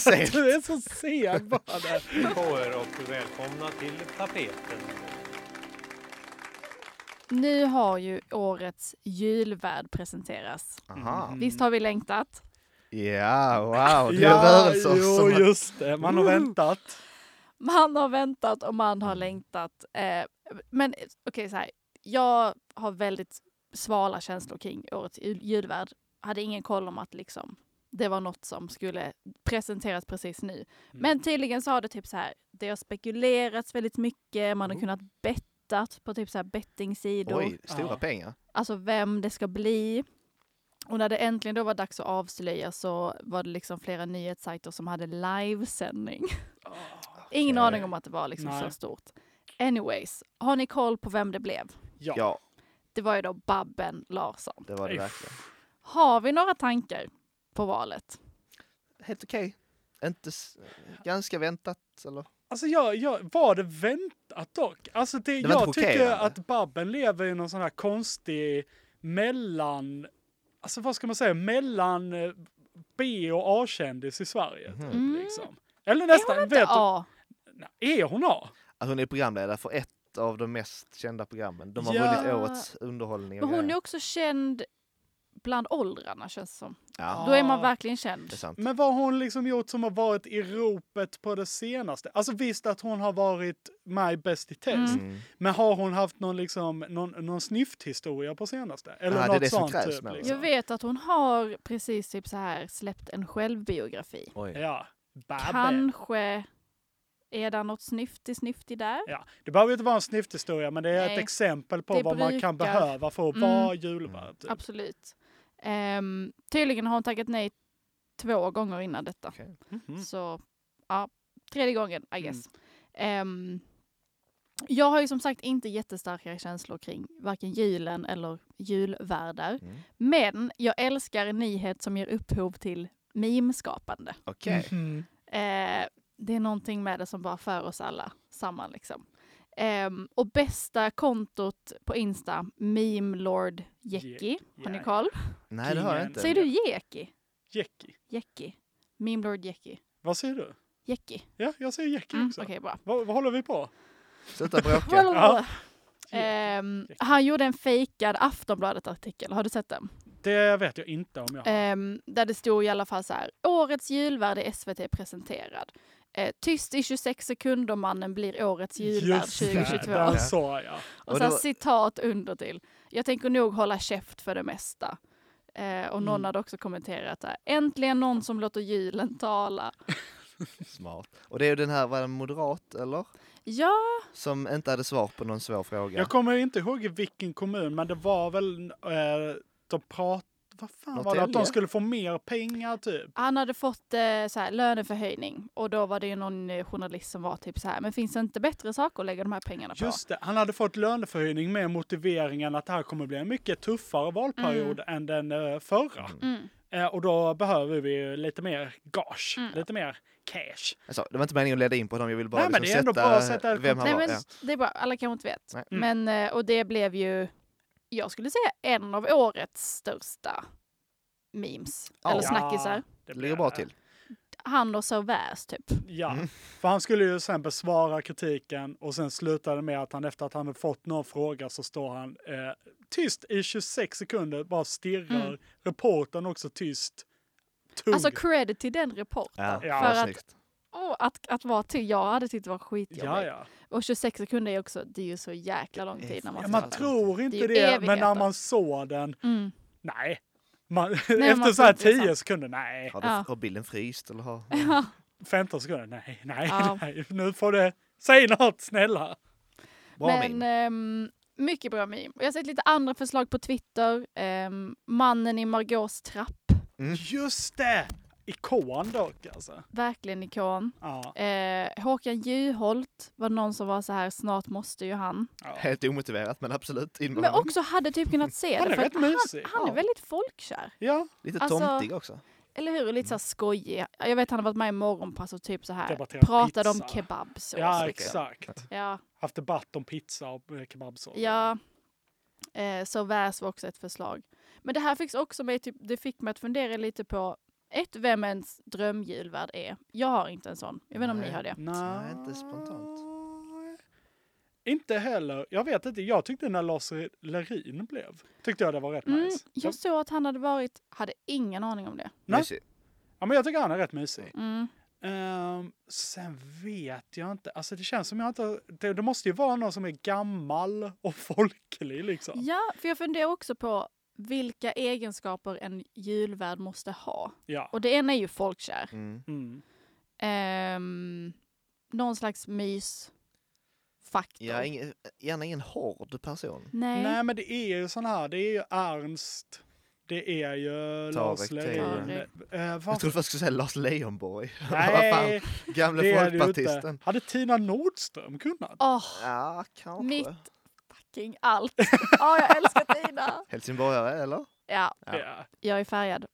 C: Sen.
B: Du är så seg bara där.
H: Hej på er och välkomna till tapeten.
D: Nu har ju årets julvärd presenterats.
C: Aha.
D: Visst har vi längtat?
C: Ja, wow. Det är rörelser
B: jo,
C: som har
B: just det. Man har väntat.
D: Man har väntat och man har längtat. Eh, men eh, okej, så här. Jag har väldigt svala känslor kring årets jul- julvärd. Hade ingen koll om att liksom, det var något som skulle presenteras precis nu. Men tydligen så har det typ så här. Det har spekulerats väldigt mycket. Man har
C: Oh.
D: kunnat bettat på typ så här bettingsidor.
C: Oj, stora
B: Ja.
C: pengar.
D: alltså vem det ska bli. Och när det äntligen då var dags att avslöja så var det liksom flera nyhetssajter som hade livesändning.
B: Ah.
D: Ingen
C: Okej.
D: aning om att det var liksom så
B: Nej.
D: stort. Anyways, har ni koll på vem det blev?
B: Ja.
C: Ja,
D: Det var ju då Babben Larsson.
C: det var det
B: Uff.
C: verkligen.
D: Har vi några tankar på valet?
C: Helt okej. Inte s- ganska väntat, eller?
B: Alltså jag, jag, var det väntat dock? Alltså det,
C: var
B: jag
C: inte
B: tycker
C: chockerande.
B: att Babben lever i någon sån här konstig mellan, alltså vad ska man säga, mellan eh, B och A-kändis i Sverige.
C: Mhm.
B: typ, Liksom. Eller nästan, är hon vet
D: Ja,
B: du, nej, är hon A?
C: Att hon är programledare för ett av de mest kända programmen. De har
B: Ja.
C: vunnit årets underhållning. och
D: men hon är
C: grejer.
D: också känd bland åldrarna känns det som.
C: Ja,
D: Då är man
B: Ah.
D: verkligen
C: det är
D: känd.
C: sant.
B: Men vad har hon liksom gjort som har varit i ropet på det senaste? Alltså visst att hon har varit my best i test.
C: Mm.
B: Men har hon haft någon, liksom, någon, någon snyfthistoria på senaste? Eller
C: Ah, det är
B: något
C: det som
B: sånt
C: krävs
B: typ.
C: med henne.
B: Liksom.
D: Jag vet att hon har precis typ så här släppt en självbiografi.
C: Oj.
B: Ja. Babben.
D: Kanske är det något snyftig snyftig där.
B: Ja, det behöver ju inte vara en snyfthistoria, men det är
D: Nej,
B: ett exempel på
D: det
B: vad man kan
D: brukar-
B: behöva för att
D: Mm.
B: vara julvärd. Typ.
D: Absolut. Ehm, tydligen har hon tackat nej två gånger innan detta.
C: Okej. Mm.
B: Mhm.
D: Så ja, tredje gången I guess. Ehm, jag har ju som sagt inte jättestarka känslor kring varken julen eller julvärdar.
C: Mm.
D: Men jag älskar en nyhet som ger upphov till meme-skapande.
C: Okej.
B: Mhm.
D: Eh, det är någonting med det som bara för oss alla samman. Liksom. Ehm, och bästa kontot på Insta, Meme Lord Jecki. Har ni
B: ja.
D: koll?
C: Nej, det har jag
B: Ingen-
C: inte.
D: Säger du Jeki?
B: Jecki.
D: Jecki. Meme Lord Jecki.
B: Vad säger du?
D: Jecki.
B: Ja, jag säger Jecki
D: Mm,
B: också.
D: Okej, bra.
B: Vad, vad håller vi på?
C: Sluta bråka.
B: Ja.
D: Blablabla. Ehm, han gjorde en fejkad Aftonbladet-artikel, har du sett den?
B: Det vet jag inte om jag har.
D: Ehm, där det stod i alla fall så här, årets julvärd i SVT presenterad. Eh, tyst i 26 sekunder, mannen blir årets julvärd
B: Just det,
D: 2022.
B: där sa jag.
D: Och,
C: Och
D: så här
C: det var-
D: citat under till. Jag tänker nog hålla käft för det mesta. Eh, och någon hade också kommenterat där. Äntligen någon som låter julen tala.
C: Smart. Och det är ju den här, var det en moderat eller?
D: Ja,
C: Som inte hade svar på någon svår fråga.
B: Jag kommer inte ihåg i vilken kommun, men det var väl... Eh, de prat... Vad fan var det? Att de
C: Norrtälje?
B: skulle få mer pengar, typ.
D: han hade fått eh, så här, löneförhöjning. Och då var det ju någon eh, journalist som var typ så här. Men finns det inte bättre saker att lägga de här pengarna på?
B: Just det, han hade fått löneförhöjning med motiveringen att det här kommer bli en mycket tuffare valperiod än den eh, förra.
D: Mm.
B: Eh, och då behöver vi ju lite mer gage,
D: Mm.
B: lite mer cash.
C: Alltså, det var inte meningen att leda in på dem, jag ville bara
B: Nej, men det är
C: liksom
B: ändå
C: sätta,
B: bra att sätta ett
C: vem han
D: Nej,
C: var.
D: men
C: Ja.
D: det är bra. Alla kanske inte vet.
C: Nej.
B: Mm.
D: Men, eh, och det blev ju, jag skulle säga en av årets största memes.
C: Ja.
D: Eller snackisar.
B: Det
C: Det
B: blir
C: ligger bra till. Mm.
D: Han och Sauvage typ.
B: Ja, för han skulle ju sen besvara kritiken och sen slutade med att han efter att han hade fått någon fråga så står han eh, tyst i 26 sekunder, bara stirrar.
D: Mm.
B: Reportern också tyst. Tung.
D: Alltså cred till den reportern.
B: Ja.
D: För
C: vad
D: att,
C: snyggt.
D: åh, att, att vara till, jag hade tyckt det var skitjobbigt.
B: ja, ja.
D: Och 26 sekunder är också, det är ju så jäkla lång tid när man
B: ja,
D: ska
B: man
C: Alltså,
D: man
B: tror
D: Det
B: inte
D: är
B: det,
D: ju
B: men när
D: evigheter.
B: man såg den,
D: mm.
B: nej. Man, efter
D: man
B: så här
D: tror inte det
B: 10
D: är
B: sekunder, nej.
C: Har, du,
D: Ja.
C: har bilden fryst eller har...
B: 15 sekunder, nej, nej,
D: Ja.
B: nej. Nu får du, säg något snälla.
C: Bra
D: Men
C: min.
D: ehm, mycket bra meme. Och Jag har sett lite andra förslag på Twitter. Ehm, mannen i Margaux trapp,
B: Just det! Ikon dock alltså.
D: verkligen ikon.
B: Ja,
D: Eh, Håkan Juholt var någon som var så här, snart måste ju han.
B: ja.
C: Helt omotiverat men absolut. In med
D: Men
C: honom.
D: också hade typ kunnat se
B: Han
D: det.
B: är
D: för
B: rätt
D: att
B: mysig.
D: han, han
B: Ja.
D: är väldigt folkkär.
B: ja.
C: Lite
D: alltså-
C: tomtig också.
D: Eller hur? Och Lite så här skojig. Jag vet han har varit med i Morgonpass och typ så här
B: Mm. Debatterat
D: pratade
B: pizza.
D: om kebabsås.
B: Ja,
D: liksom.
B: exakt.
D: Ja,
B: Haft debatt om pizza och eh, kebabsås.
D: ja. Eh, så väs var också ett förslag. Men det här fick också mig, typ, det fick mig att fundera lite på ett, vem ens drömjulvärd är. Jag har inte en sån. Jag vet inte om ni
C: Nej.
D: har det.
B: Nej,
C: inte spontant.
B: Inte heller. Jag vet inte. Jag tyckte när Lars Lerin blev, tyckte jag det var rätt
D: Mm,
B: nice.
D: jag såg att han hade varit, hade ingen aning om det.
B: Nej.
C: Mysig.
B: Ja, men jag tycker han är rätt mysig.
D: Mm.
B: Ehm, sen vet jag inte. Alltså det känns som jag inte... Det, det måste ju vara någon som är gammal och folklig liksom.
D: Ja, för jag funderar också på vilka egenskaper en julvärd måste ha.
B: Ja.
D: Och det ena är ju folkkär.
C: Mm.
B: Mm.
D: Ehm, någon slags mysfaktor.
C: Ja, ingen, gärna ingen hård person.
D: Nej.
B: Nej, men det är ju sån här. Det är ju Ernst. Det är ju Lars
C: Tarek
B: Lerin.
D: Taylor.
B: Eh,
C: Jag
B: varför
C: trodde jag skulle säga Lars Leijonborg. Vad
B: Nej,
C: fan, gamle
B: det är det ju inte.
C: folkpartisten.
B: Hade Tina Nordström kunnat?
D: Åh,
C: Ja, kanske.
D: mitt fucking allt. Ja, jag älskar Tina.
C: Helsingborgare eller?
D: Ja,
C: Ja.
B: Ja.
D: jag är färgad.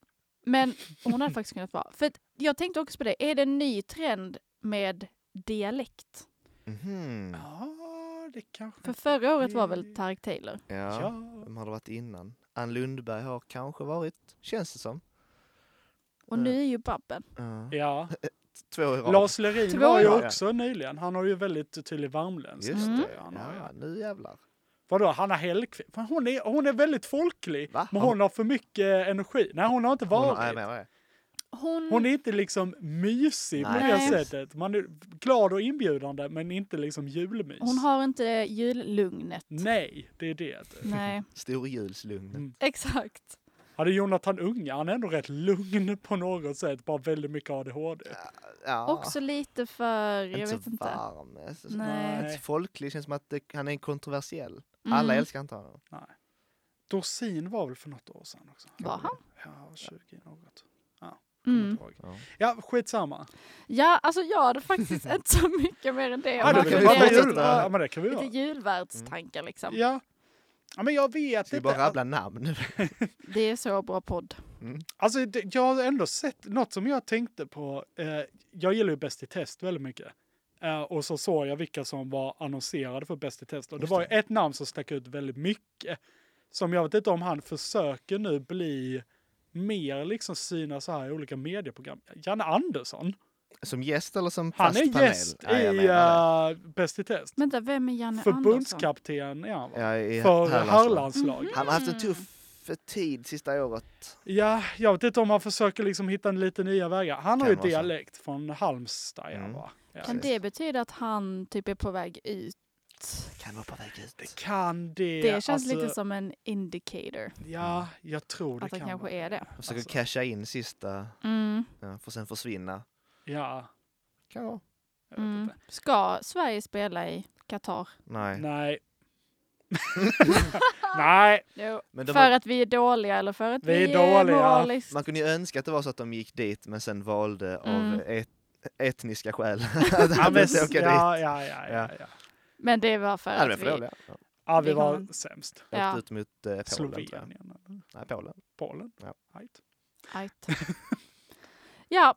D: Men hon hade faktiskt kunnat vara. För att jag tänkte också på det, är det en ny trend med dialekt?
C: Mhm.
B: Ja, det kanske...
D: För förra året var väl Tareq Taylor?
C: Ja.
B: Ja.
C: Vem har det varit innan? Ann Lundberg har kanske varit, känns det som.
D: Och nu är ju Babben.
C: Ja.
B: ja.
C: Två i rad.
B: Lars Lerin
D: Två
B: var ju
C: år.
B: också nyligen. Han har ju väldigt tydlig värmländsk.
C: Just
D: Mm.
C: det,
B: Han har ju-
C: ja, nu jävlar.
B: Vadå, Hanna Hellquist? Fan, Hon är, hon är väldigt folklig,
C: Va?
B: men
C: Har-
B: hon har för mycket energi. Nej, hon har inte
C: Hon har-
B: varit.
C: ja, jag menar det.
D: Hon,
B: Hon är inte liksom mysig på
C: Nej.
B: det
D: Nej.
B: sättet. Man är glad och inbjudande, men inte liksom julmys.
D: hon har inte jullugnet.
B: Nej, det är det.
D: Nej,
C: Storjulslugnet.
B: Mm.
D: exakt.
B: Hade Jonathan Unge, han är ändå rätt lugn på något sätt, bara väldigt mycket ADHD.
C: Ja,
D: Också lite för, jag
C: Ah. inte
D: vet
C: så
D: inte.
C: varm. Så-
D: Nej.
C: Inte så folklig, känns som att det, han är en kontroversiell.
D: Mm.
C: Alla älskar inte honom.
B: Dorsin var väl för något år sedan också?
D: Var han?
B: Ja, 20 något. Kommer
D: Mm.
B: inte ihåg.
C: Ja.
B: Ja, skitsamma.
D: Ja, alltså jag hade faktiskt inte så mycket mer än det.
B: Ja,
D: Man
B: det
C: kan
B: kan vi
C: vi
B: prata
D: funderar
B: jul.
C: fortsätta.
D: lite
B: Ja, men det Mm. kan vi
D: på
B: göra.
D: Lite julvärdstankar liksom.
B: Ja. ja, men jag vet
C: Ska vi
B: inte.
C: bara rabbla namn?
D: Det är så bra podd.
B: Alltså, det, jag har ändå sett något som jag tänkte på. Eh, jag gillar ju Bäst i test väldigt mycket. Eh, och så såg jag vilka som var annonserade för Bäst i test. Och det var ju ett namn som stack ut väldigt mycket. Som jag vet inte om han försöker nu bli mer liksom synas så här i olika medieprogram. Janne Andersson,
C: Som gäst eller som
B: han
C: fast
B: är
C: panel?
B: gäst
C: ja, jag
B: i
C: menar det.
B: eh, Bäst i test.
D: Vänta, vem är Janne Andersson?
B: Förbundskapten är han va?
C: Ja, i
B: eh, För Mm.
C: Hallandsland.
D: Mhm.
B: herrlandslag.
C: Han har haft en tuff tid sista året.
B: Ja, jag vet inte om han försöker liksom hitta lite nya vägar. Han har
C: Kan
B: ju
C: vara så.
B: dialekt från Halmstad. Mm.
C: Mm.
B: Va? Ja.
D: Kan det betyda att han typ är på väg ut?
C: Kan vara på väg ut.
B: Kan det...
D: Det känns
B: alltså,
D: lite som en indicator.
B: Ja, jag tror det
D: Att han
B: kan
D: kanske
B: vara.
D: är det.
C: Försöker
B: Alltså.
C: casha in sista,
D: Mm,
C: ja, för sen försvinna.
B: Ja.
C: Kan vara.
B: Jag vet
D: mm.
B: inte.
D: Ska Sverige spela i Qatar?
C: Nej.
B: Nej. Nej,
C: Men de
D: för
C: har-
D: att vi är dåliga eller för att
B: Vi
D: vi
B: är
D: är,
B: dåliga.
D: moraliskt...
C: Man kunde ju önska att det var så att de gick dit men sen valde
D: Mm.
C: av et etniska skäl att
B: ja,
C: han
B: men,
C: inte åka dit.
B: ja, ja, ja, ja,
C: Ja.
B: ja.
D: Men det var för
C: Ja, det var
D: att
C: för
D: vi...
C: dåliga. Ja.
B: ja vi
D: Vi
B: var
D: kommer-
B: sämst.
C: Åkte
D: Ja.
C: ut mot eh, Polen. tror jag.
B: Slovenien.
C: Nej, Polen.
B: Polen.
C: Ja.
B: Right.
D: Ajt. Ja,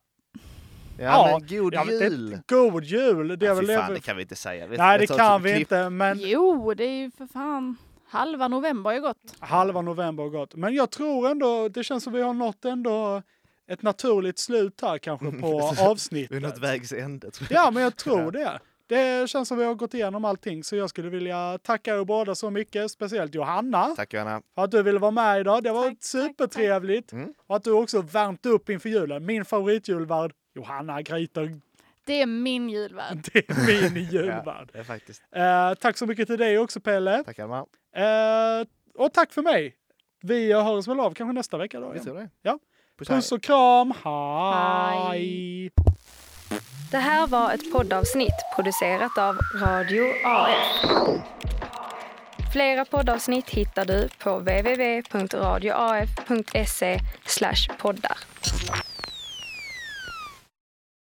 C: Ja,
B: Ja,
C: men god
B: Ja, men
C: jul!
B: det, god jul! Det
C: Ja,
B: är
C: Alltså, fy
B: väl
C: fan,
B: det.
C: det kan vi inte säga. Vi-
B: Nej,
C: jag
B: det
C: tar ett
B: kan vi
C: klipp.
B: inte, men
D: jo, det är ju för fan... Halva november har ju gått.
B: Halva november har gått. Men jag tror ändå, det känns som vi har nått ändå ett naturligt slut här kanske på
C: Vi är
B: avsnittet.
C: något vägs ände tror jag.
B: Ja, men jag tror det. Det känns som vi har gått igenom allting, så jag skulle vilja tacka er båda så mycket, speciellt Johanna,
C: Tack Johanna.
B: för att du ville vara med idag. Det var
D: Tack, tack,
B: supertrevligt.
C: tack. Mm.
B: Och att du också värmt upp inför julen. Min favoritjulvärd, Johanna Gryter,
D: Det är min julvärd.
B: det är min julvärd.
C: Det är faktiskt.
B: Eh, tack så mycket till dig också, Pelle.
C: Tack Alma.
B: Eh, och tack för mig. Vi hörs väl av kanske nästa vecka då.
C: Vi tror
B: igen.
C: det.
B: Ja.
C: Puss, hej.
B: Puss och kram.
D: Hej.
B: Hej.
A: Det här var ett poddavsnitt producerat av Radio AF. Flera poddavsnitt hittar du på www.radioaf.se E poddar.